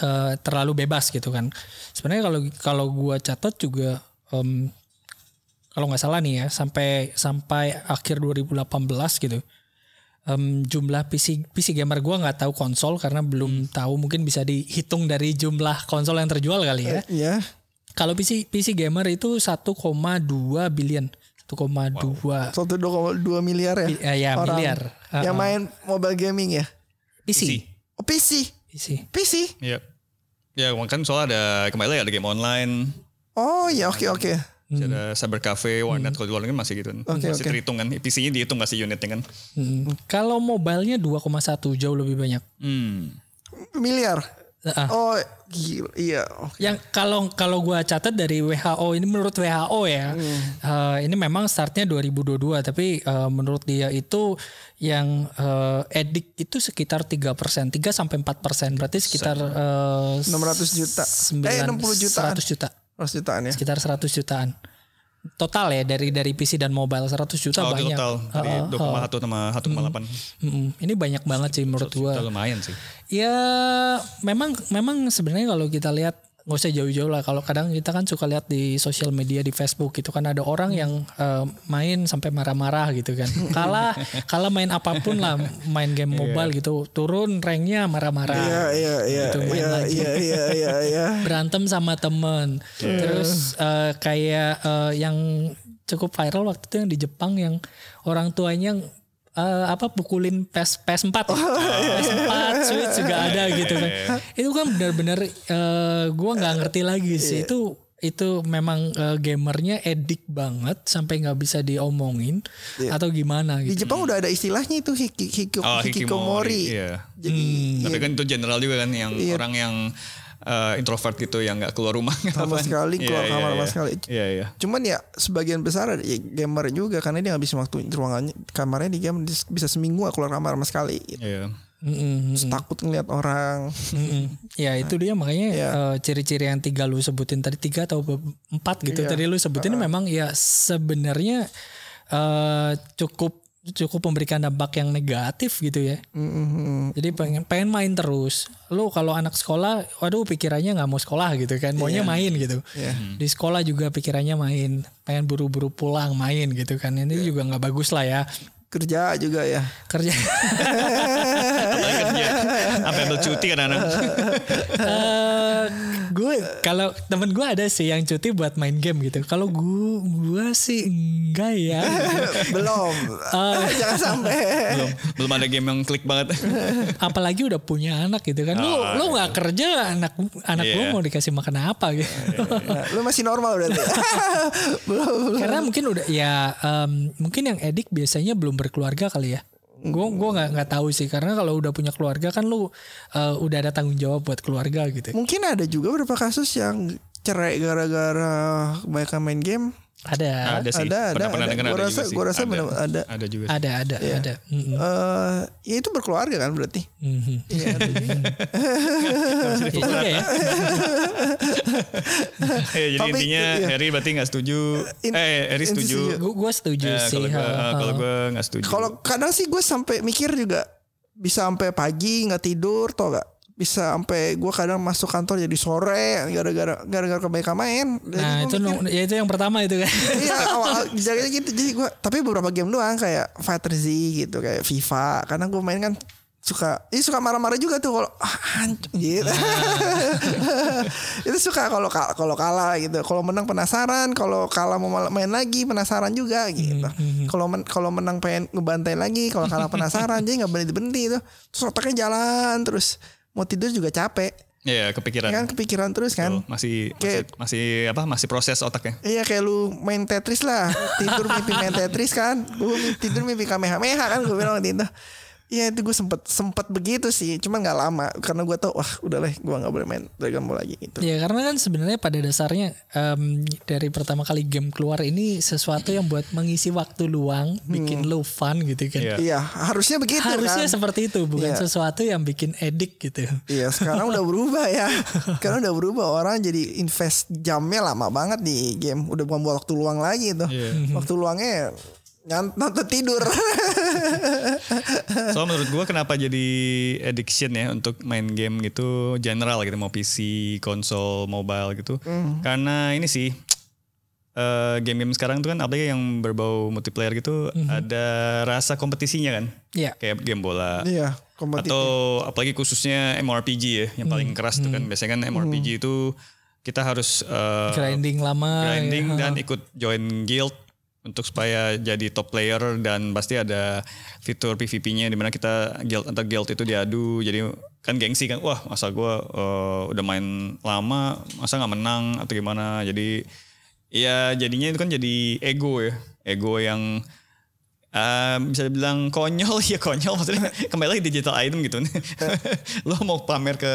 [SPEAKER 4] eh, terlalu bebas gitu kan. Sebenarnya kalau kalau gua catat juga um, em, kalau nggak salah nih ya sampai sampai akhir 2018 gitu. em, jumlah PC PC gamer gua nggak tahu konsol karena belum tahu mungkin bisa dihitung dari jumlah konsol yang terjual kali ya.
[SPEAKER 2] Iya.
[SPEAKER 4] Kalau PC PC gamer itu 1,2 billion. 1,2
[SPEAKER 2] Satu dua dua miliar ya.
[SPEAKER 4] Bi- eh, ya,
[SPEAKER 2] Orang
[SPEAKER 4] miliar. Ah,
[SPEAKER 2] Yang
[SPEAKER 4] ah.
[SPEAKER 2] main mobile gaming ya.
[SPEAKER 4] PC.
[SPEAKER 2] Oh, PC.
[SPEAKER 4] PC.
[SPEAKER 2] PC.
[SPEAKER 3] ya ya kan soalnya ada kembali lagi ada game online
[SPEAKER 2] Oh ya oke oke.
[SPEAKER 3] Masih ada cyber cafe, warnet kalau di luar negeri masih gitu kan.
[SPEAKER 2] Hmm. Oke,
[SPEAKER 3] masih
[SPEAKER 2] oke.
[SPEAKER 3] terhitung kan. PC-nya dihitung pasti unitnya kan.
[SPEAKER 4] Hmm, Kalau mobilenya 2,1 jauh lebih banyak.
[SPEAKER 3] Hmm.
[SPEAKER 2] miliar.
[SPEAKER 4] Ah,
[SPEAKER 2] Oh, gila. Iya. oke.
[SPEAKER 4] Yang kalau kalau gua catat dari WHO ini menurut WHO ya
[SPEAKER 2] Hmm.
[SPEAKER 4] eh, ini memang startnya 2022 tapi eh, menurut dia itu yang eh, edik itu sekitar 3 3 sampai 4 berarti sekitar eh,
[SPEAKER 2] 600 juta.
[SPEAKER 4] sembilan-
[SPEAKER 2] Eh, 60 jutaan.
[SPEAKER 4] 100 juta
[SPEAKER 2] Ratus jutaan ya.
[SPEAKER 4] sekitar 100 jutaan total ya dari dari PC dan mobile 100 juta
[SPEAKER 3] Kalau di
[SPEAKER 4] banyak
[SPEAKER 3] total dari
[SPEAKER 4] Heeh,
[SPEAKER 3] 2,1 sama 1,8.
[SPEAKER 2] Hmm.
[SPEAKER 4] Mm-mm. ini banyak banget sih menurut gua
[SPEAKER 3] Itu lumayan sih.
[SPEAKER 4] Ya memang memang sebenarnya kalau kita lihat nggak usah jauh-jauh lah kalau kadang kita kan suka lihat di sosial media di Facebook gitu kan ada orang yang eh, main sampai marah-marah gitu kan kalah kalah main apapun lah main game mobile gitu turun ranknya
[SPEAKER 2] Iya,
[SPEAKER 4] marah-marah
[SPEAKER 2] iya, iya.
[SPEAKER 4] Gitu, main
[SPEAKER 2] Iya,
[SPEAKER 4] lagi.
[SPEAKER 2] iya, iya, iya, iya.
[SPEAKER 4] berantem sama temen terus eh, kayak eh, yang cukup viral waktu itu yang di Jepang yang orang tuanya yang eh, apa pukulin PS PS4 ya. PS4 Switch juga ada gitu kan itu kan benar-benar eh, gua nggak ngerti lagi sih itu itu memang eh, gamernya edik banget sampai nggak bisa diomongin atau gimana
[SPEAKER 2] Di
[SPEAKER 4] gitu
[SPEAKER 2] Jepang udah ada istilahnya itu hiki, hiki-
[SPEAKER 3] Oh,
[SPEAKER 2] hikikomori.
[SPEAKER 3] Iya.
[SPEAKER 2] Jadi
[SPEAKER 4] Hmm.
[SPEAKER 3] Tapi kan itu general juga kan yang
[SPEAKER 2] Iya.
[SPEAKER 3] orang yang eh, introvert gitu yang nggak keluar rumah
[SPEAKER 2] sama
[SPEAKER 3] Apaan?
[SPEAKER 2] sekali
[SPEAKER 3] Iya,
[SPEAKER 2] keluar
[SPEAKER 3] iya,
[SPEAKER 2] kamar sama
[SPEAKER 3] iya.
[SPEAKER 2] sekali.
[SPEAKER 3] Iya iya.
[SPEAKER 2] Cuman ya sebagian besar ada- ya, gamer juga karena dia ngabisin waktu di ruangannya kamarnya di game dis- bisa seminggu gak keluar kamar sama sekali.
[SPEAKER 3] Iya.
[SPEAKER 4] Mm-mm.
[SPEAKER 2] Terus takut ngeliat orang.
[SPEAKER 4] Mm-mm. Ya itu dia makanya
[SPEAKER 2] Ya.
[SPEAKER 4] eh, ciri-ciri yang tiga lu sebutin tadi tiga atau be- empat gitu
[SPEAKER 2] Iya.
[SPEAKER 4] tadi lu sebutin memang ya sebenarnya eh, cukup cukup memberikan dampak yang negatif gitu ya.
[SPEAKER 2] Mm-mm.
[SPEAKER 4] Jadi pengen pengen main terus. Lu kalau anak sekolah, waduh pikirannya nggak mau sekolah gitu kan, maunya main gitu.
[SPEAKER 2] Iya.
[SPEAKER 4] Di sekolah juga pikirannya main, pengen buru-buru pulang main gitu kan. Ini
[SPEAKER 2] Iya.
[SPEAKER 4] juga nggak bagus lah ya
[SPEAKER 2] Kerja juga ya.
[SPEAKER 4] kerja.
[SPEAKER 3] Apalagi kerja. kan Sampai ambil cuti kan anak.
[SPEAKER 4] Eh, gue kalau temen gue ada sih yang cuti buat main game gitu. Kalau gue gue sih enggak ya. Eh,
[SPEAKER 2] Belum. Jangan sampai.
[SPEAKER 3] belum belum ada game yang klik banget.
[SPEAKER 4] Apalagi udah punya anak gitu kan. Lu
[SPEAKER 3] Ah,
[SPEAKER 4] lu nggak kerja anak anak lu
[SPEAKER 3] Iya. Ah,
[SPEAKER 4] mau dikasih makan apa gitu.
[SPEAKER 2] Nah, lu masih normal berarti. belum.
[SPEAKER 4] Karena mungkin udah ya em, mungkin yang edik biasanya belum berkeluarga kali ya. Gue gua nggak nggak tahu sih karena kalau udah punya keluarga kan lu eh, udah ada tanggung jawab buat keluarga gitu.
[SPEAKER 2] Mungkin ada juga beberapa kasus yang cerai gara-gara kebanyakan main game.
[SPEAKER 4] Ada
[SPEAKER 3] ada sih.
[SPEAKER 2] Ada, ada,
[SPEAKER 3] pernah pernah
[SPEAKER 2] ada.
[SPEAKER 3] dengar
[SPEAKER 2] Gua
[SPEAKER 3] ada
[SPEAKER 2] rasa-
[SPEAKER 3] juga sih.
[SPEAKER 2] gua rasa bener- ada.
[SPEAKER 3] Ada juga. sih.
[SPEAKER 4] ada ada ada. Mm-mm.
[SPEAKER 2] Eh, ya itu berkeluarga kan berarti.
[SPEAKER 4] Mhm.
[SPEAKER 2] Iya, ada juga.
[SPEAKER 4] Iya juga ya.
[SPEAKER 3] Eh, jadi
[SPEAKER 2] Tapi-
[SPEAKER 3] intinya
[SPEAKER 2] iya.
[SPEAKER 3] Harry berarti nggak setuju.
[SPEAKER 2] In-
[SPEAKER 3] eh Harry
[SPEAKER 2] in-
[SPEAKER 3] setuju.
[SPEAKER 2] setuju.
[SPEAKER 4] Gue gue setuju
[SPEAKER 3] Eh,
[SPEAKER 4] Iya sih.
[SPEAKER 3] kalau gue
[SPEAKER 4] ha, ha.
[SPEAKER 3] kalau gue nggak setuju.
[SPEAKER 2] Kalau kadang sih gue sampai mikir juga bisa sampai pagi nggak tidur tau gak? Bisa sampai gue kadang masuk kantor jadi sore gara-gara gara-gara kebanyakan main. Jadi
[SPEAKER 4] Nah
[SPEAKER 2] gua
[SPEAKER 4] itu
[SPEAKER 2] mikir,
[SPEAKER 4] no- ya itu yang pertama itu kan.
[SPEAKER 2] Iya awal jadinya gitu jadi gue tapi beberapa game doang kayak Fighter Z gitu kayak FIFA karena gue main kan suka ini suka marah-marah juga tuh kalau ah, hancur gitu
[SPEAKER 3] Nah.
[SPEAKER 2] itu suka kalau kal- kalau kalah gitu kalau menang penasaran kalau kalah mau mal- main lagi penasaran juga gitu
[SPEAKER 3] Hmm,
[SPEAKER 2] kalau men- kalau menang pengen ngebantai lagi kalau kalah penasaran jadi nggak berhenti berhenti itu terus otaknya jalan terus mau tidur juga capek
[SPEAKER 3] Iya kepikiran.
[SPEAKER 2] kan kepikiran terus kan
[SPEAKER 3] Betul. masih, masih
[SPEAKER 2] Kayak-
[SPEAKER 3] masih apa masih proses otaknya.
[SPEAKER 2] Iya kayak lu main Tetris lah Tidur mimpi main Tetris kan Gue tidur mimpi kamehameha kan Gue bilang waktu itu Iya itu gue sempet sempet begitu sih Cuman gak lama Karena gue tau Wah udah lah gue gak boleh main Dragon Ball lagi gitu
[SPEAKER 4] ya karena kan sebenarnya pada dasarnya em, dari pertama kali game keluar ini sesuatu yang buat mengisi waktu luang,
[SPEAKER 2] Hmm.
[SPEAKER 4] bikin lo fun gitu kan.
[SPEAKER 3] Iya.
[SPEAKER 2] Iya harusnya begitu kan
[SPEAKER 4] Harusnya seperti itu, bukan
[SPEAKER 2] Iya.
[SPEAKER 4] sesuatu yang bikin edik gitu.
[SPEAKER 2] Iya sekarang udah berubah ya Sekarang udah berubah Orang jadi invest jamnya lama banget di game Udah bukan buat waktu luang lagi itu
[SPEAKER 3] Iya.
[SPEAKER 2] Waktu luangnya nyant- Nonton tidur
[SPEAKER 3] So menurut gue kenapa jadi addiction ya untuk main game gitu general gitu mau PC, konsol, mobile gitu. Karena ini sih eh, game-game sekarang tuh kan apalagi yang berbau multiplayer gitu ada rasa kompetisinya kan.
[SPEAKER 4] Iya.
[SPEAKER 3] Kayak game bola.
[SPEAKER 2] Iya
[SPEAKER 3] Atau
[SPEAKER 2] kompetitif
[SPEAKER 3] apalagi khususnya MRPG ya yang paling keras tuh kan. Biasanya kan MRPG itu kita harus eh,
[SPEAKER 4] Grinding lama.
[SPEAKER 3] grinding
[SPEAKER 4] ya.
[SPEAKER 3] dan ikut join guild untuk supaya jadi top player dan pasti ada fitur PVP-nya di mana kita guild antar guild itu diadu jadi kan gengsi kan wah masa gua eh, udah main lama masa nggak menang atau gimana jadi ya jadinya itu kan jadi ego ya ego yang eh, bisa dibilang konyol ya konyol maksudnya kembali lagi digital item gitu lo mau pamer ke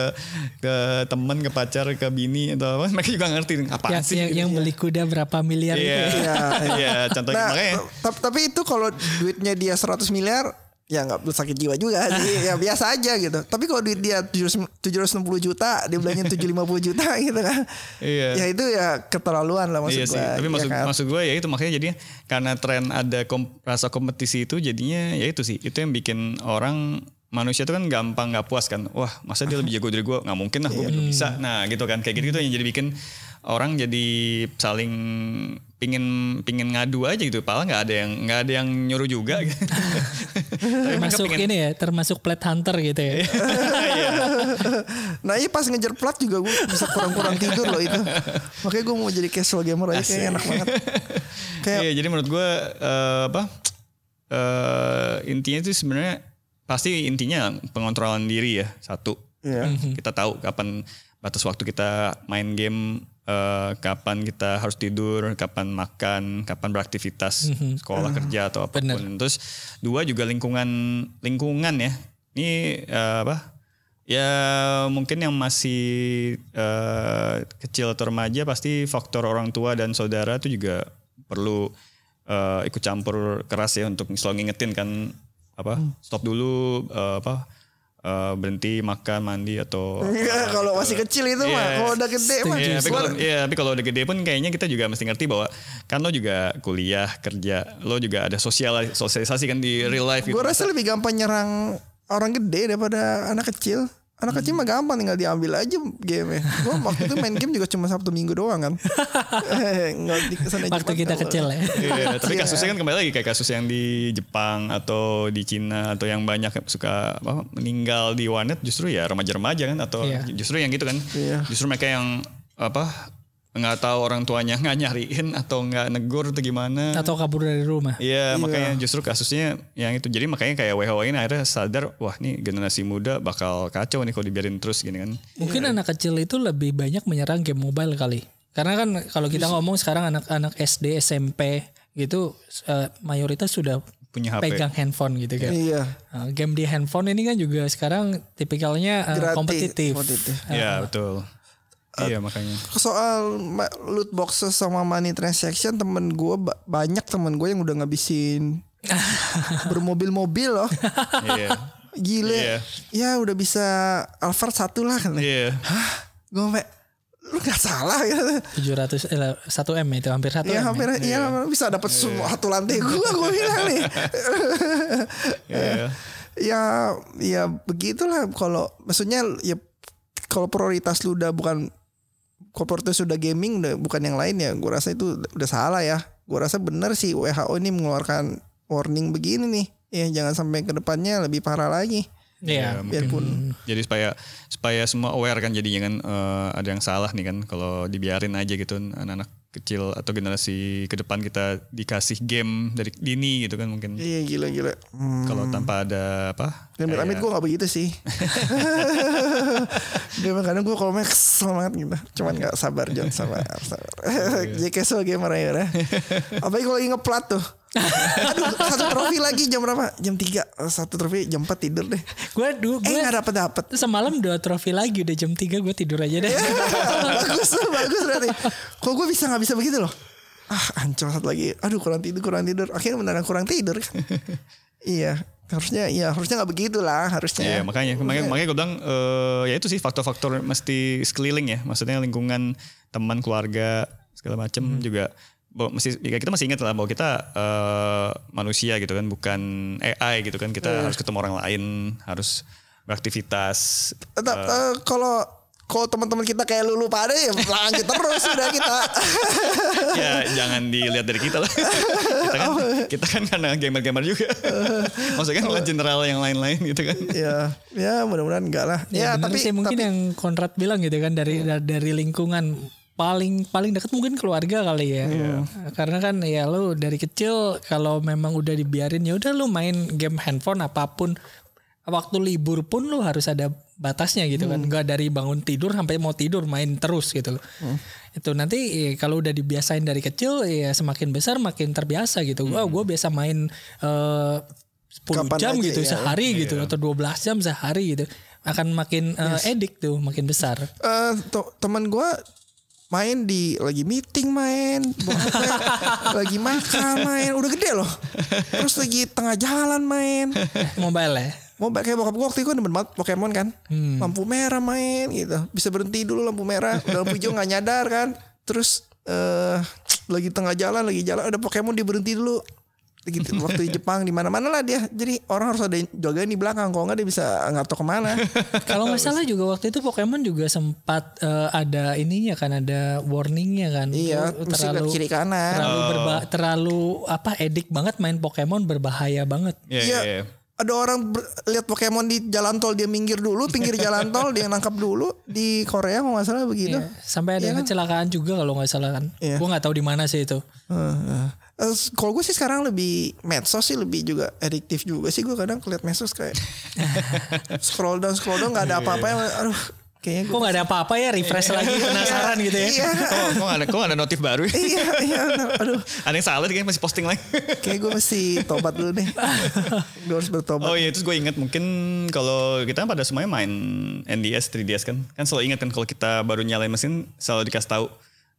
[SPEAKER 3] ke temen ke pacar ke bini atau apa mereka juga ngerti apa
[SPEAKER 4] yang,
[SPEAKER 3] sih
[SPEAKER 4] Ya, yang, yang beli kuda berapa miliar
[SPEAKER 3] gitu.
[SPEAKER 4] gitu ya.
[SPEAKER 3] Iya,
[SPEAKER 4] itu
[SPEAKER 2] Iya,
[SPEAKER 3] iya contohnya
[SPEAKER 2] Nah,
[SPEAKER 3] makanya
[SPEAKER 2] ta- tapi itu kalau duitnya dia 100 miliar ya nggak sakit jiwa juga sih ya biasa aja gitu tapi kalau duit dia 760 juta dia belanjain 750 juta gitu kan
[SPEAKER 3] Iya.
[SPEAKER 2] ya itu ya keterlaluan lah maksud
[SPEAKER 3] iya sih,
[SPEAKER 2] gua,
[SPEAKER 3] tapi
[SPEAKER 2] ya
[SPEAKER 3] maksud
[SPEAKER 2] kan?
[SPEAKER 3] maksud gue ya itu makanya jadinya karena tren ada kom- rasa kompetisi itu jadinya ya itu sih itu yang bikin orang manusia itu kan gampang nggak puas kan wah masa dia lebih jago dari gue nggak mungkin lah
[SPEAKER 2] Iya.
[SPEAKER 3] gue belum bisa nah gitu kan kayak gitu gitu yang jadi bikin orang jadi saling pingin pingin ngadu aja gitu pala nggak ada yang nggak ada yang nyuruh juga gitu. Tapi mereka
[SPEAKER 4] termasuk
[SPEAKER 3] pingin-
[SPEAKER 4] ini ya termasuk plat hunter gitu ya
[SPEAKER 3] Iya.
[SPEAKER 2] nah iya pas ngejar plat juga gue bisa kurang-kurang tidur loh itu makanya gue mau jadi casual gamer aja kayaknya enak banget kayak
[SPEAKER 3] Iya, jadi menurut gue eh, apa eh, intinya itu sebenarnya pasti intinya pengontrolan diri ya satu.
[SPEAKER 2] Iya.
[SPEAKER 3] Kita tahu kapan batas waktu kita main game, eh, kapan kita harus tidur, kapan makan, kapan beraktivitas, sekolah kerja atau apapun. Terus dua juga lingkungan lingkungan ya. Ini eh, apa? Ya mungkin yang masih eh, kecil atau remaja pasti faktor orang tua dan saudara itu juga perlu eh, ikut campur keras ya untuk selalu ngingetin kan apa stop dulu eh, apa eh, berhenti makan mandi atau
[SPEAKER 2] Enggak, Iya, kalau masih kecil itu mah
[SPEAKER 3] Iya.
[SPEAKER 2] kalau udah gede mah
[SPEAKER 3] Iya, tapi
[SPEAKER 2] keluar.
[SPEAKER 3] kalau iya, tapi kalau udah gede pun kayaknya kita juga mesti ngerti bahwa kan lo juga kuliah, kerja, lo juga ada sosial sosialisasi kan di real life gitu.
[SPEAKER 2] Gue rasa lebih gampang nyerang orang gede daripada anak kecil. Anak kecil mah gampang tinggal diambil aja game Gue waktu itu main game juga cuma Sabtu Minggu doang kan. Eh, nggak di sana
[SPEAKER 4] waktu
[SPEAKER 2] Jumat
[SPEAKER 4] kita
[SPEAKER 2] kalau-
[SPEAKER 4] kecil ya
[SPEAKER 3] Iya, tapi kasusnya kan kembali lagi kayak kasus yang di Jepang atau di Cina atau yang banyak yang suka apa, meninggal di warnet justru ya remaja-remaja kan atau
[SPEAKER 4] Iya.
[SPEAKER 3] justru yang gitu kan.
[SPEAKER 2] Iya.
[SPEAKER 3] Justru mereka yang apa nggak tahu orang tuanya nggak nyariin atau nggak negur atau gimana.
[SPEAKER 4] atau kabur dari rumah
[SPEAKER 3] Iya, makanya justru kasusnya yang itu. Jadi makanya kayak WHO ini akhirnya sadar, wah nih generasi muda bakal kacau nih kalau dibiarin terus gini kan.
[SPEAKER 4] Mungkin anak kecil itu lebih banyak menyerang game mobile kali. Karena kan kalau kita ngomong sekarang anak-anak SD, SMP gitu eh, mayoritas sudah
[SPEAKER 3] Punya HP.
[SPEAKER 4] pegang handphone gitu kan.
[SPEAKER 2] Iya.
[SPEAKER 4] Nah, game di handphone ini kan juga sekarang tipikalnya eh,
[SPEAKER 2] Gratis,
[SPEAKER 4] kompetitif.
[SPEAKER 2] kompetitif.
[SPEAKER 3] Iya, betul. iya, makanya.
[SPEAKER 2] Soal ma- loot boxes sama money transaction temen gue banyak temen gue yang udah ngabisin bermobil-mobil loh.
[SPEAKER 3] Iya. Iya.
[SPEAKER 2] Gile. Ya udah bisa Alphard satu lah kan.
[SPEAKER 3] Iya.
[SPEAKER 2] Gue sampe lu gak salah gitu.
[SPEAKER 4] 700 eh, 1 M itu hampir 1
[SPEAKER 2] Ya
[SPEAKER 4] M.
[SPEAKER 2] hampir ya bisa dapat semua satu lantai gua gua bilang nih.
[SPEAKER 3] Iya.
[SPEAKER 2] ya ya begitulah kalau maksudnya ya kalau prioritas lu udah bukan kalau prioritas udah gaming udah bukan yang lain ya gua rasa itu udah salah ya. Gua rasa bener sih WHO ini mengeluarkan warning begini nih. Ya jangan sampai ke depannya lebih parah lagi.
[SPEAKER 4] Iya.
[SPEAKER 2] Biarpun
[SPEAKER 3] Jadi supaya supaya semua aware kan jadinya kan eh, ada yang salah nih kan kalau dibiarin aja gitu anak-anak kecil atau generasi ke depan kita dikasih game dari dini gitu kan mungkin.
[SPEAKER 2] iya gila gila. Hmm.
[SPEAKER 3] Kalau tanpa ada apa?
[SPEAKER 2] Amit amit gue gak begitu sih. Dia kadang gue kalau main kesel banget gitu. Cuman gak
[SPEAKER 3] Iya.
[SPEAKER 2] sabar John sabar. sabar. Jadi casual gamer aja udah. Apalagi kalau lagi ngeplat tuh. Aduh satu trofi lagi jam berapa? Jam 3. Satu trofi jam 4 tidur deh.
[SPEAKER 4] Gue du-
[SPEAKER 2] Eh
[SPEAKER 4] gue
[SPEAKER 2] gak dapet dapet.
[SPEAKER 4] semalam dua trofi lagi udah jam 3 gue tidur aja
[SPEAKER 2] Iya.
[SPEAKER 4] deh.
[SPEAKER 2] bagus tuh bagus berarti. Kok gue bisa gak bisa begitu loh? Ah ancol satu lagi. Aduh kurang tidur kurang tidur. Akhirnya beneran kurang tidur kan. iya. Harusnya ya harusnya gak begitu lah harusnya.
[SPEAKER 3] Iya makanya, makanya, makanya gue bilang eh, ya itu sih faktor-faktor mesti sekeliling ya, maksudnya lingkungan teman keluarga segala macem juga bahwa mesti ya kita masih ingat lah bahwa kita eh, manusia gitu kan bukan AI gitu kan kita harus ketemu orang lain harus beraktivitas
[SPEAKER 2] Tetap, eh, kalau kalau teman-teman kita kayak lulu pada ya lanjut terus udah kita.
[SPEAKER 3] ya jangan dilihat dari kita lah kita kan kita kan karena gamer-gamer juga maksudnya kan ngeliat general yang lain-lain gitu kan
[SPEAKER 2] ya, ya mudah-mudahan enggak lah. Ya,
[SPEAKER 4] Ya, bener
[SPEAKER 2] tapi
[SPEAKER 4] sih mungkin
[SPEAKER 2] tapi Iya.
[SPEAKER 4] yang Konrad bilang gitu kan dari da- dari lingkungan paling paling dekat mungkin keluarga kali ya.
[SPEAKER 2] Iya.
[SPEAKER 4] Karena kan ya lu dari kecil kalau memang udah dibiarin ya udah lu main game handphone apapun waktu libur pun lu harus ada batasnya gitu
[SPEAKER 2] Hmm.
[SPEAKER 4] kan nggak dari bangun tidur sampai mau tidur main terus gitu
[SPEAKER 2] Hmm.
[SPEAKER 4] itu nanti eh, kalau udah dibiasain dari kecil ya semakin besar makin terbiasa gitu
[SPEAKER 2] Hmm.
[SPEAKER 4] Wah, gue biasa main eh, 10
[SPEAKER 2] Kapan
[SPEAKER 4] jam
[SPEAKER 2] aja
[SPEAKER 4] gitu
[SPEAKER 2] ya.
[SPEAKER 4] sehari gitu atau 12 jam sehari gitu akan makin eh, edik tuh makin besar
[SPEAKER 2] Eh, to- teman gue main di lagi meeting main bokapnya lagi makan main udah gede loh terus lagi tengah jalan main
[SPEAKER 4] mobile ya
[SPEAKER 2] mau kayak bokap gue waktu itu demen banget Pokemon kan lampu merah main gitu bisa berhenti dulu lampu merah udah lampu hijau nggak nyadar kan terus eh lagi tengah jalan lagi jalan ada Pokemon dia berhenti dulu gitu waktu di Jepang di mana mana lah dia jadi orang harus ada yang jagain di belakang kalau nggak dia bisa nggak tahu kemana
[SPEAKER 4] Kalau nggak salah juga waktu itu Pokemon juga sempat eh, ada ininya kan ada warningnya kan.
[SPEAKER 2] iya
[SPEAKER 4] Itu
[SPEAKER 2] mesti lihat
[SPEAKER 4] terlalu
[SPEAKER 2] kiri kanan
[SPEAKER 4] terlalu berba- terlalu apa edik banget main Pokemon berbahaya banget.
[SPEAKER 3] Iya,
[SPEAKER 2] Iya.
[SPEAKER 3] iya. iya.
[SPEAKER 2] Ada orang ber- lihat Pokemon di jalan tol dia minggir dulu, pinggir jalan tol dia nangkap dulu di Korea kalau nggak salah begitu.
[SPEAKER 4] Iya, Sampai ada kecelakaan juga kalau nggak salah kan.
[SPEAKER 2] Iya.
[SPEAKER 4] Gue nggak tahu di mana sih itu.
[SPEAKER 2] Heeh. Eh, kalau gue sih sekarang lebih medsos sih lebih juga adiktif juga sih gue kadang keliat medsos kayak scroll down scroll down
[SPEAKER 3] Iya,
[SPEAKER 2] nggak ada apa-apa yang aduh kayaknya
[SPEAKER 4] Kok
[SPEAKER 2] gue
[SPEAKER 4] nggak ada apa-apa ya refresh lagi penasaran gitu ya.
[SPEAKER 2] iya
[SPEAKER 3] Kok, kok ada kok ada notif baru? ya?
[SPEAKER 2] iya iya bener. aduh
[SPEAKER 3] ada yang salah kayaknya masih posting lagi.
[SPEAKER 2] kayak gue mesti tobat dulu deh gue harus bertobat
[SPEAKER 3] Oh iya, terus gue ingat mungkin kalau kita kan pada semuanya main NDS, 3DS kan, kan selalu ingat kan kalau kita baru nyalain mesin selalu dikasih tahu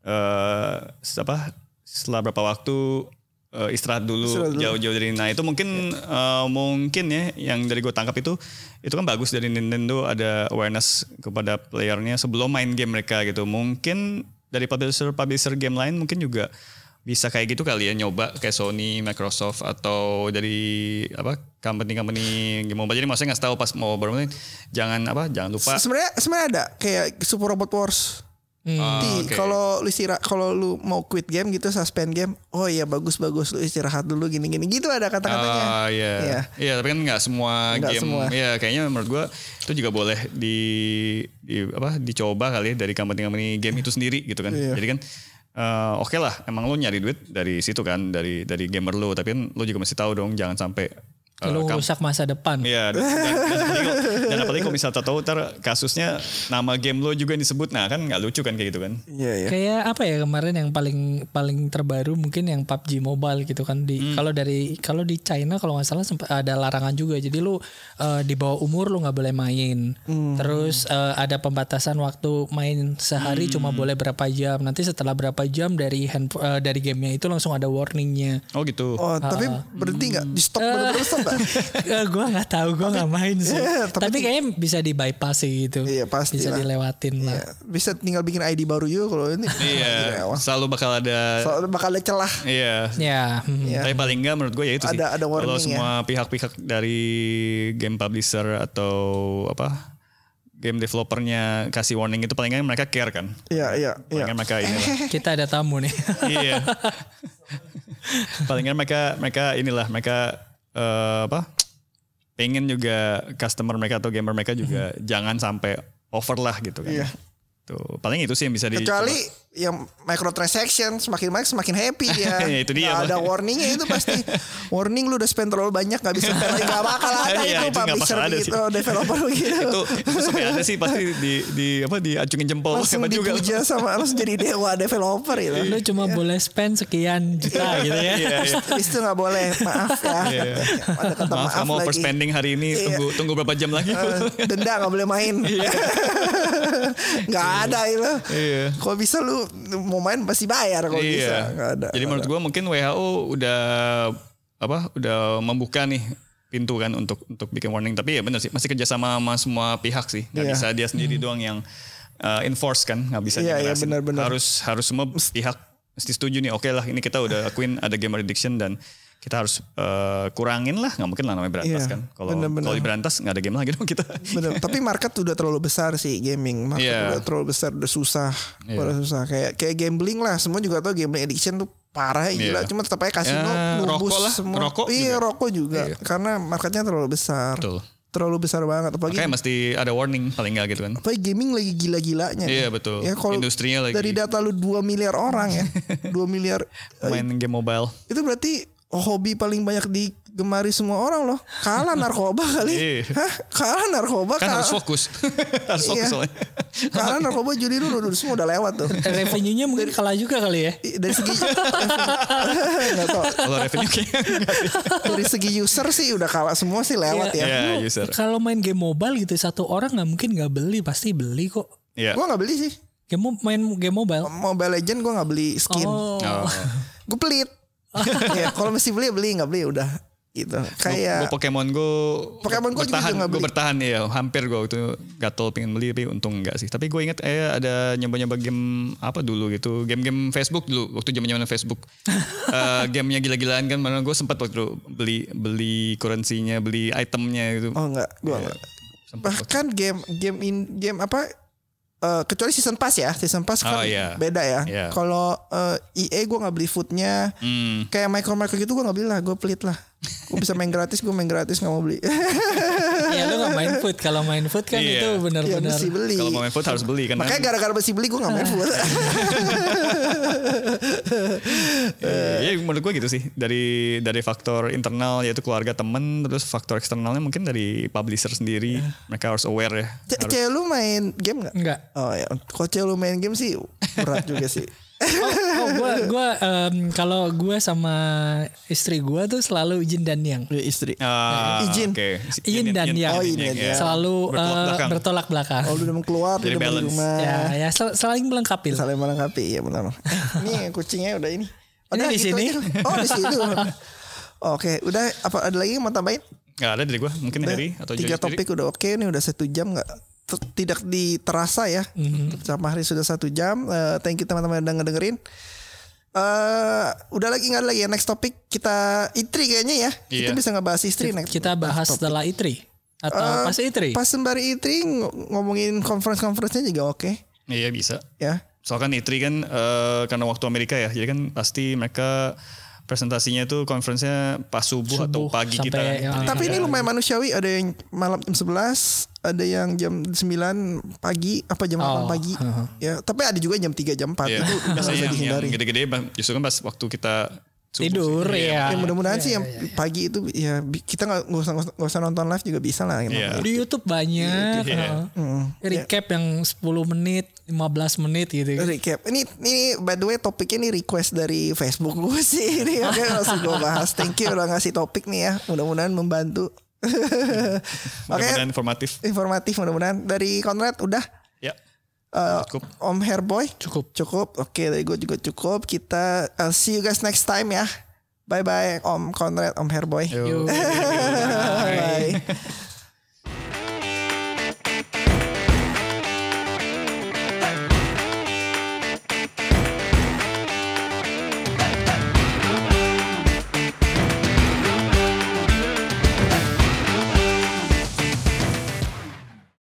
[SPEAKER 3] eh apa setelah berapa waktu eh,
[SPEAKER 2] Istirahat
[SPEAKER 3] istirahat dulu
[SPEAKER 2] dulu.
[SPEAKER 3] jauh-jauh dari nah itu mungkin eh, mungkin ya yang dari gue tangkap itu itu kan bagus dari Nintendo ada awareness kepada playernya sebelum main game mereka gitu mungkin dari publisher publisher game lain mungkin juga bisa kayak gitu kali ya nyoba kayak Sony, Microsoft atau dari apa company-company game mobile. Jadi maksudnya nggak tahu pas mau baru main, jangan apa jangan lupa.
[SPEAKER 2] sebenarnya sebenarnya ada kayak Super Robot Wars
[SPEAKER 3] Ah,
[SPEAKER 2] Ti,
[SPEAKER 3] oke.
[SPEAKER 2] kalau lu istirahat kalau lu mau quit game gitu suspend game oh iya bagus bagus lu istirahat dulu gini gini gitu ada kata katanya
[SPEAKER 3] Ah iya.
[SPEAKER 2] Iya.
[SPEAKER 3] Iya, tapi kan nggak semua
[SPEAKER 2] Nggak
[SPEAKER 3] game.
[SPEAKER 2] semua.
[SPEAKER 3] Iya, kayaknya menurut gua itu juga boleh di, di- apa dicoba kali ya dari company-company game itu sendiri gitu kan.
[SPEAKER 2] Iya.
[SPEAKER 3] Jadi kan eh, oke lah, emang lo nyari duit dari situ kan, dari dari gamer lo, tapi kan lo juga mesti tahu dong jangan sampai eh,
[SPEAKER 4] Lu
[SPEAKER 3] kamu-
[SPEAKER 4] rusak masa depan.
[SPEAKER 3] Iya, dan, dan, dan apalagi- dan apalagi kalau misalnya tahu ntar kasusnya nama game lo juga yang disebut, nah kan nggak lucu kan kayak gitu kan?
[SPEAKER 2] iya iya
[SPEAKER 4] Kayak apa ya kemarin yang paling paling terbaru mungkin yang PUBG Mobile gitu kan di
[SPEAKER 2] Hmm.
[SPEAKER 4] kalau dari kalau di China kalau nggak salah sempat ada larangan juga jadi lu eh, di bawah umur lu nggak boleh main
[SPEAKER 2] Hmm.
[SPEAKER 4] terus eh, ada pembatasan waktu main sehari cuma
[SPEAKER 2] Hmm.
[SPEAKER 4] boleh berapa jam nanti setelah berapa jam dari hand eh, dari gamenya itu langsung ada warningnya
[SPEAKER 3] Oh gitu.
[SPEAKER 2] oh tapi
[SPEAKER 4] Ah.
[SPEAKER 2] berhenti nggak di stop bener-bener stop nggak
[SPEAKER 4] Eh, gua nggak tahu gua nggak main sih
[SPEAKER 2] Iya, tapi-
[SPEAKER 4] tapi, kayaknya bisa di bypass sih gitu
[SPEAKER 2] Iya, pasti
[SPEAKER 4] bisa
[SPEAKER 2] lah.
[SPEAKER 4] dilewatin lah
[SPEAKER 2] Iya, bisa tinggal bikin ID baru juga kalau ini Dari
[SPEAKER 3] Iya,
[SPEAKER 2] awal.
[SPEAKER 3] selalu bakal ada.
[SPEAKER 2] soalnya bakal ada celah
[SPEAKER 3] Iya,
[SPEAKER 4] ya hmm.
[SPEAKER 2] Iya.
[SPEAKER 3] Tapi paling enggak menurut gue ya itu sih.
[SPEAKER 2] Ada- ada warning
[SPEAKER 3] Kalau
[SPEAKER 2] ya.
[SPEAKER 3] semua pihak-pihak dari game publisher atau apa game developernya kasih warning itu paling enggak mereka care kan.
[SPEAKER 2] iya iya
[SPEAKER 3] Paling
[SPEAKER 2] iya
[SPEAKER 3] enggak mereka ini.
[SPEAKER 4] kita ada tamu nih
[SPEAKER 3] Iya. paling enggak mereka mereka inilah mereka eh, apa? Pengen juga customer mereka atau gamer mereka juga jangan sampai over lah gitu kan.
[SPEAKER 2] Hmm. Iya.
[SPEAKER 3] Tuh, paling itu sih yang bisa di
[SPEAKER 2] kecuali yang microtransaction semakin banyak semakin happy ya
[SPEAKER 3] Iya, itu dia,
[SPEAKER 2] Nggak ada
[SPEAKER 3] makanya.
[SPEAKER 2] warningnya itu pasti warning lu udah spend terlalu banyak nggak bisa nggak bakal ada
[SPEAKER 3] Iya,
[SPEAKER 2] itu
[SPEAKER 3] itu nggak
[SPEAKER 2] publisher
[SPEAKER 3] bakal ada
[SPEAKER 2] begitu
[SPEAKER 3] sih.
[SPEAKER 2] developer gitu. begitu
[SPEAKER 3] itu, itu sampai ada sih pasti di di apa diacungin jempol
[SPEAKER 2] langsung
[SPEAKER 3] hebat juga.
[SPEAKER 2] dipuja sama langsung jadi dewa developer gitu
[SPEAKER 4] lu cuma boleh spend sekian juta gitu ya
[SPEAKER 3] Iya, iya.
[SPEAKER 2] Habis itu nggak boleh maaf ya ada kata
[SPEAKER 3] Maaf,
[SPEAKER 2] maaf,
[SPEAKER 3] kamu
[SPEAKER 2] lagi
[SPEAKER 3] overspending hari ini.
[SPEAKER 2] Iya.
[SPEAKER 3] Tunggu tunggu berapa jam lagi?
[SPEAKER 2] Eh, denda nggak boleh main nggak ada itu
[SPEAKER 3] Iya.
[SPEAKER 2] kalau bisa lu mau main pasti bayar kalau bisa
[SPEAKER 3] iya.
[SPEAKER 2] nggak ada
[SPEAKER 3] Jadi menurut gua mungkin WHO udah apa? Udah membuka nih pintu kan untuk untuk bikin warning. Tapi ya benar sih masih kerjasama sama semua pihak sih. Gak
[SPEAKER 2] Iya.
[SPEAKER 3] bisa dia sendiri doang yang uh, enforce kan. Gak bisa
[SPEAKER 2] Iya, iya,
[SPEAKER 3] dijelasin.
[SPEAKER 2] benar-benar.
[SPEAKER 3] Harus harus semua pihak mesti setuju nih. Oke lah, ini kita udah akuin ada gamer addiction dan kita harus uh, kurangin lah. Nggak mungkin lah namanya berantas
[SPEAKER 2] Iya,
[SPEAKER 3] kan. Kalau
[SPEAKER 2] benar-benar.
[SPEAKER 3] kalau diberantas nggak ada game lagi dong kita.
[SPEAKER 2] Bener. Tapi market udah terlalu besar sih gaming. Market
[SPEAKER 3] Iya.
[SPEAKER 2] udah terlalu besar, udah susah,
[SPEAKER 3] Iya.
[SPEAKER 2] udah susah. Kayak kayak gambling lah. Semua juga tau gambling addiction tuh parah ya gila.
[SPEAKER 3] Iya.
[SPEAKER 2] Cuma tetap aja kasino
[SPEAKER 3] Ya,
[SPEAKER 2] nubus
[SPEAKER 3] rokok lah,
[SPEAKER 2] semua.
[SPEAKER 3] rokok
[SPEAKER 2] iya
[SPEAKER 3] juga.
[SPEAKER 2] rokok juga. Karena marketnya terlalu besar.
[SPEAKER 3] Betul.
[SPEAKER 2] Terlalu besar banget. Apalagi
[SPEAKER 3] Makanya mesti ada warning paling nggak gitu kan.
[SPEAKER 2] apalagi gaming lagi gila-gilanya. nih.
[SPEAKER 3] Iya, betul.
[SPEAKER 2] Ya, kalau
[SPEAKER 3] Industrinya lagi-
[SPEAKER 2] Dari data lu 2 miliar orang ya. 2 miliar. eh,
[SPEAKER 3] main game mobile.
[SPEAKER 2] itu berarti hobi paling banyak digemari semua orang loh. Kalah narkoba kali.
[SPEAKER 3] Iya.
[SPEAKER 2] Hah? Kalah narkoba.
[SPEAKER 3] Kan
[SPEAKER 2] kalah-
[SPEAKER 3] harus fokus. harus fokus
[SPEAKER 2] Oh, Iya.
[SPEAKER 3] soalnya.
[SPEAKER 2] Karena narkoba judi dulu, dulu semua udah lewat tuh.
[SPEAKER 4] Revenue-nya mungkin kalah juga kali ya.
[SPEAKER 2] I- Dari segi nggak tahu.
[SPEAKER 3] Kalau revenue kayaknya enggak.
[SPEAKER 2] Dari segi user sih udah kalah semua sih lewat
[SPEAKER 3] Iya,
[SPEAKER 2] ya.
[SPEAKER 4] Lu
[SPEAKER 3] user.
[SPEAKER 4] Kalau main game mobile gitu satu orang nggak mungkin nggak beli, pasti beli kok.
[SPEAKER 3] Iya.
[SPEAKER 2] Gua nggak beli sih.
[SPEAKER 4] Game mo- main game mobile.
[SPEAKER 2] Mobile Legend gua nggak beli skin.
[SPEAKER 4] Oh.
[SPEAKER 3] Oh.
[SPEAKER 2] Gue pelit. ya, kalau mesti beli beli nggak beli udah gitu.
[SPEAKER 3] Gue
[SPEAKER 2] Kayak
[SPEAKER 3] Pokemon Go
[SPEAKER 2] Pokemon Go juga
[SPEAKER 3] bertahan,
[SPEAKER 2] nggak
[SPEAKER 3] gue
[SPEAKER 2] beli.
[SPEAKER 3] bertahan ya, hampir gue waktu itu gatel pengen beli tapi untung enggak sih. Tapi gue inget eh ada nyoba-nyoba game apa dulu gitu, game-game Facebook dulu waktu zaman zaman Facebook. Eh gamenya gila-gilaan kan, mana gue sempat waktu itu beli beli currency-nya, beli itemnya gitu.
[SPEAKER 2] oh nggak, gua nggak.
[SPEAKER 3] Sempat waktu-
[SPEAKER 2] Bahkan game game in game apa eh, kecuali season pass ya, season pass kan
[SPEAKER 3] Oh, iya.
[SPEAKER 2] beda ya.
[SPEAKER 3] Iya.
[SPEAKER 2] Kalau eh, EA gua nggak beli foodnya,
[SPEAKER 3] Hmm.
[SPEAKER 2] kayak micro micro gitu gua nggak beli lah, gue pelit lah. Gue bisa main gratis, gue main gratis nggak mau beli.
[SPEAKER 4] ya lu nggak main food. Kalau main food kan
[SPEAKER 3] Iya.
[SPEAKER 4] itu
[SPEAKER 2] ya
[SPEAKER 4] benar-benar.
[SPEAKER 2] mesti beli.
[SPEAKER 3] Kalau mau main food harus beli kan.
[SPEAKER 2] Makanya gara-gara mesti beli gue gak main food. Eh,
[SPEAKER 3] Iya, ya menurut gue gitu sih. Dari dari faktor internal yaitu keluarga temen, terus faktor eksternalnya mungkin dari publisher sendiri.
[SPEAKER 2] Eh.
[SPEAKER 3] Mereka harus aware ya.
[SPEAKER 2] Ce- Cewek lu main game gak?
[SPEAKER 4] Enggak.
[SPEAKER 2] Oh ya, kalau cewek lu main game sih berat juga sih.
[SPEAKER 4] Oh, oh gua gua em, kalau gua sama istri gua tuh selalu izin dan yang.
[SPEAKER 2] Dia istri. Eh,
[SPEAKER 3] Ah,
[SPEAKER 2] Izin.
[SPEAKER 3] oke.
[SPEAKER 4] Izin dan
[SPEAKER 2] Oh,
[SPEAKER 4] yang.
[SPEAKER 2] izin dan yang.
[SPEAKER 3] Iya.
[SPEAKER 4] Selalu eh,
[SPEAKER 3] Bertolak belakang.
[SPEAKER 4] bertolak belakang.
[SPEAKER 2] Oh lu udah mau keluar, lu
[SPEAKER 3] Jadi
[SPEAKER 2] udah mau di
[SPEAKER 3] balance.
[SPEAKER 2] rumah.
[SPEAKER 4] Ya, ya sel- saling melengkapi lah.
[SPEAKER 2] Saling melengkapi, iya benar. Eh, Ini kucingnya udah ini. Udah
[SPEAKER 4] Ini di sini.
[SPEAKER 2] aja. Oh di situ. Oke, udah apa ada lagi yang mau tambahin?
[SPEAKER 3] Gak ada dari gue. Mungkin
[SPEAKER 2] Udah,
[SPEAKER 3] Harry atau
[SPEAKER 2] tiga
[SPEAKER 3] Joy sendiri.
[SPEAKER 2] topik udah oke nih udah satu jam nggak ter- tidak diterasa ya
[SPEAKER 4] Mhm.
[SPEAKER 2] sama hari sudah satu jam Eh, thank you teman-teman yang udah ngedengerin eh udah lagi nggak ada lagi ya next topik kita istri kayaknya ya kita
[SPEAKER 3] Iya.
[SPEAKER 2] bisa ngebahas istri next
[SPEAKER 4] Kita bahas setelah itri atau
[SPEAKER 2] Eh,
[SPEAKER 4] pas itri.
[SPEAKER 2] pas sembari istri ng- ngomongin conference conference-nya juga oke
[SPEAKER 3] Iya bisa.
[SPEAKER 2] ya
[SPEAKER 3] Soalnya kan Itri kan eh, karena waktu Amerika ya, jadi kan pasti mereka presentasinya itu konferensinya pas subuh, atau
[SPEAKER 4] Subuh
[SPEAKER 3] pagi
[SPEAKER 4] Nah, sampai ya.
[SPEAKER 3] kita. kan.
[SPEAKER 4] yang-
[SPEAKER 3] Jadi
[SPEAKER 2] tapi ini
[SPEAKER 3] ada-
[SPEAKER 2] lumayan manusiawi ada yang malam jam 11 ada yang jam 9 pagi apa jam 8
[SPEAKER 4] Oh,
[SPEAKER 2] pagi ya tapi ada juga jam 3 jam 4
[SPEAKER 3] Iya.
[SPEAKER 2] itu nggak usah
[SPEAKER 3] Biasanya yang- yang
[SPEAKER 2] dihindari
[SPEAKER 3] gede-gede bah- justru kan pas waktu kita subuh sih. Iya.
[SPEAKER 4] Tidur ya.
[SPEAKER 2] Ya, mudah-mudahan sih yang pagi itu ya bi- kita nggak nggak usah nggak usah nonton live juga bisa lah.
[SPEAKER 3] Iya.
[SPEAKER 4] Di YouTube banyak.
[SPEAKER 3] Iya.
[SPEAKER 4] heeh. Recap yang 10 menit, 15 menit gitu.
[SPEAKER 2] Recap. Ini ini by the way topiknya ini request dari Facebook gue sih. Ini oke langsung gue bahas. Thank you udah ngasih topik nih ya. Mudah-mudahan membantu. oke,
[SPEAKER 3] Mudah-mudahan informatif.
[SPEAKER 2] informatif mudah-mudahan dari Konrad udah
[SPEAKER 3] Ya.
[SPEAKER 2] Eh,
[SPEAKER 3] Cukup.
[SPEAKER 2] Om Hairboy
[SPEAKER 4] Cukup.
[SPEAKER 2] cukup. Oke, dari gue juga cukup. Kita uh, see you guys next time ya. Bye bye Om Konrad, Om Hairboy.
[SPEAKER 3] Yo.
[SPEAKER 2] Bye.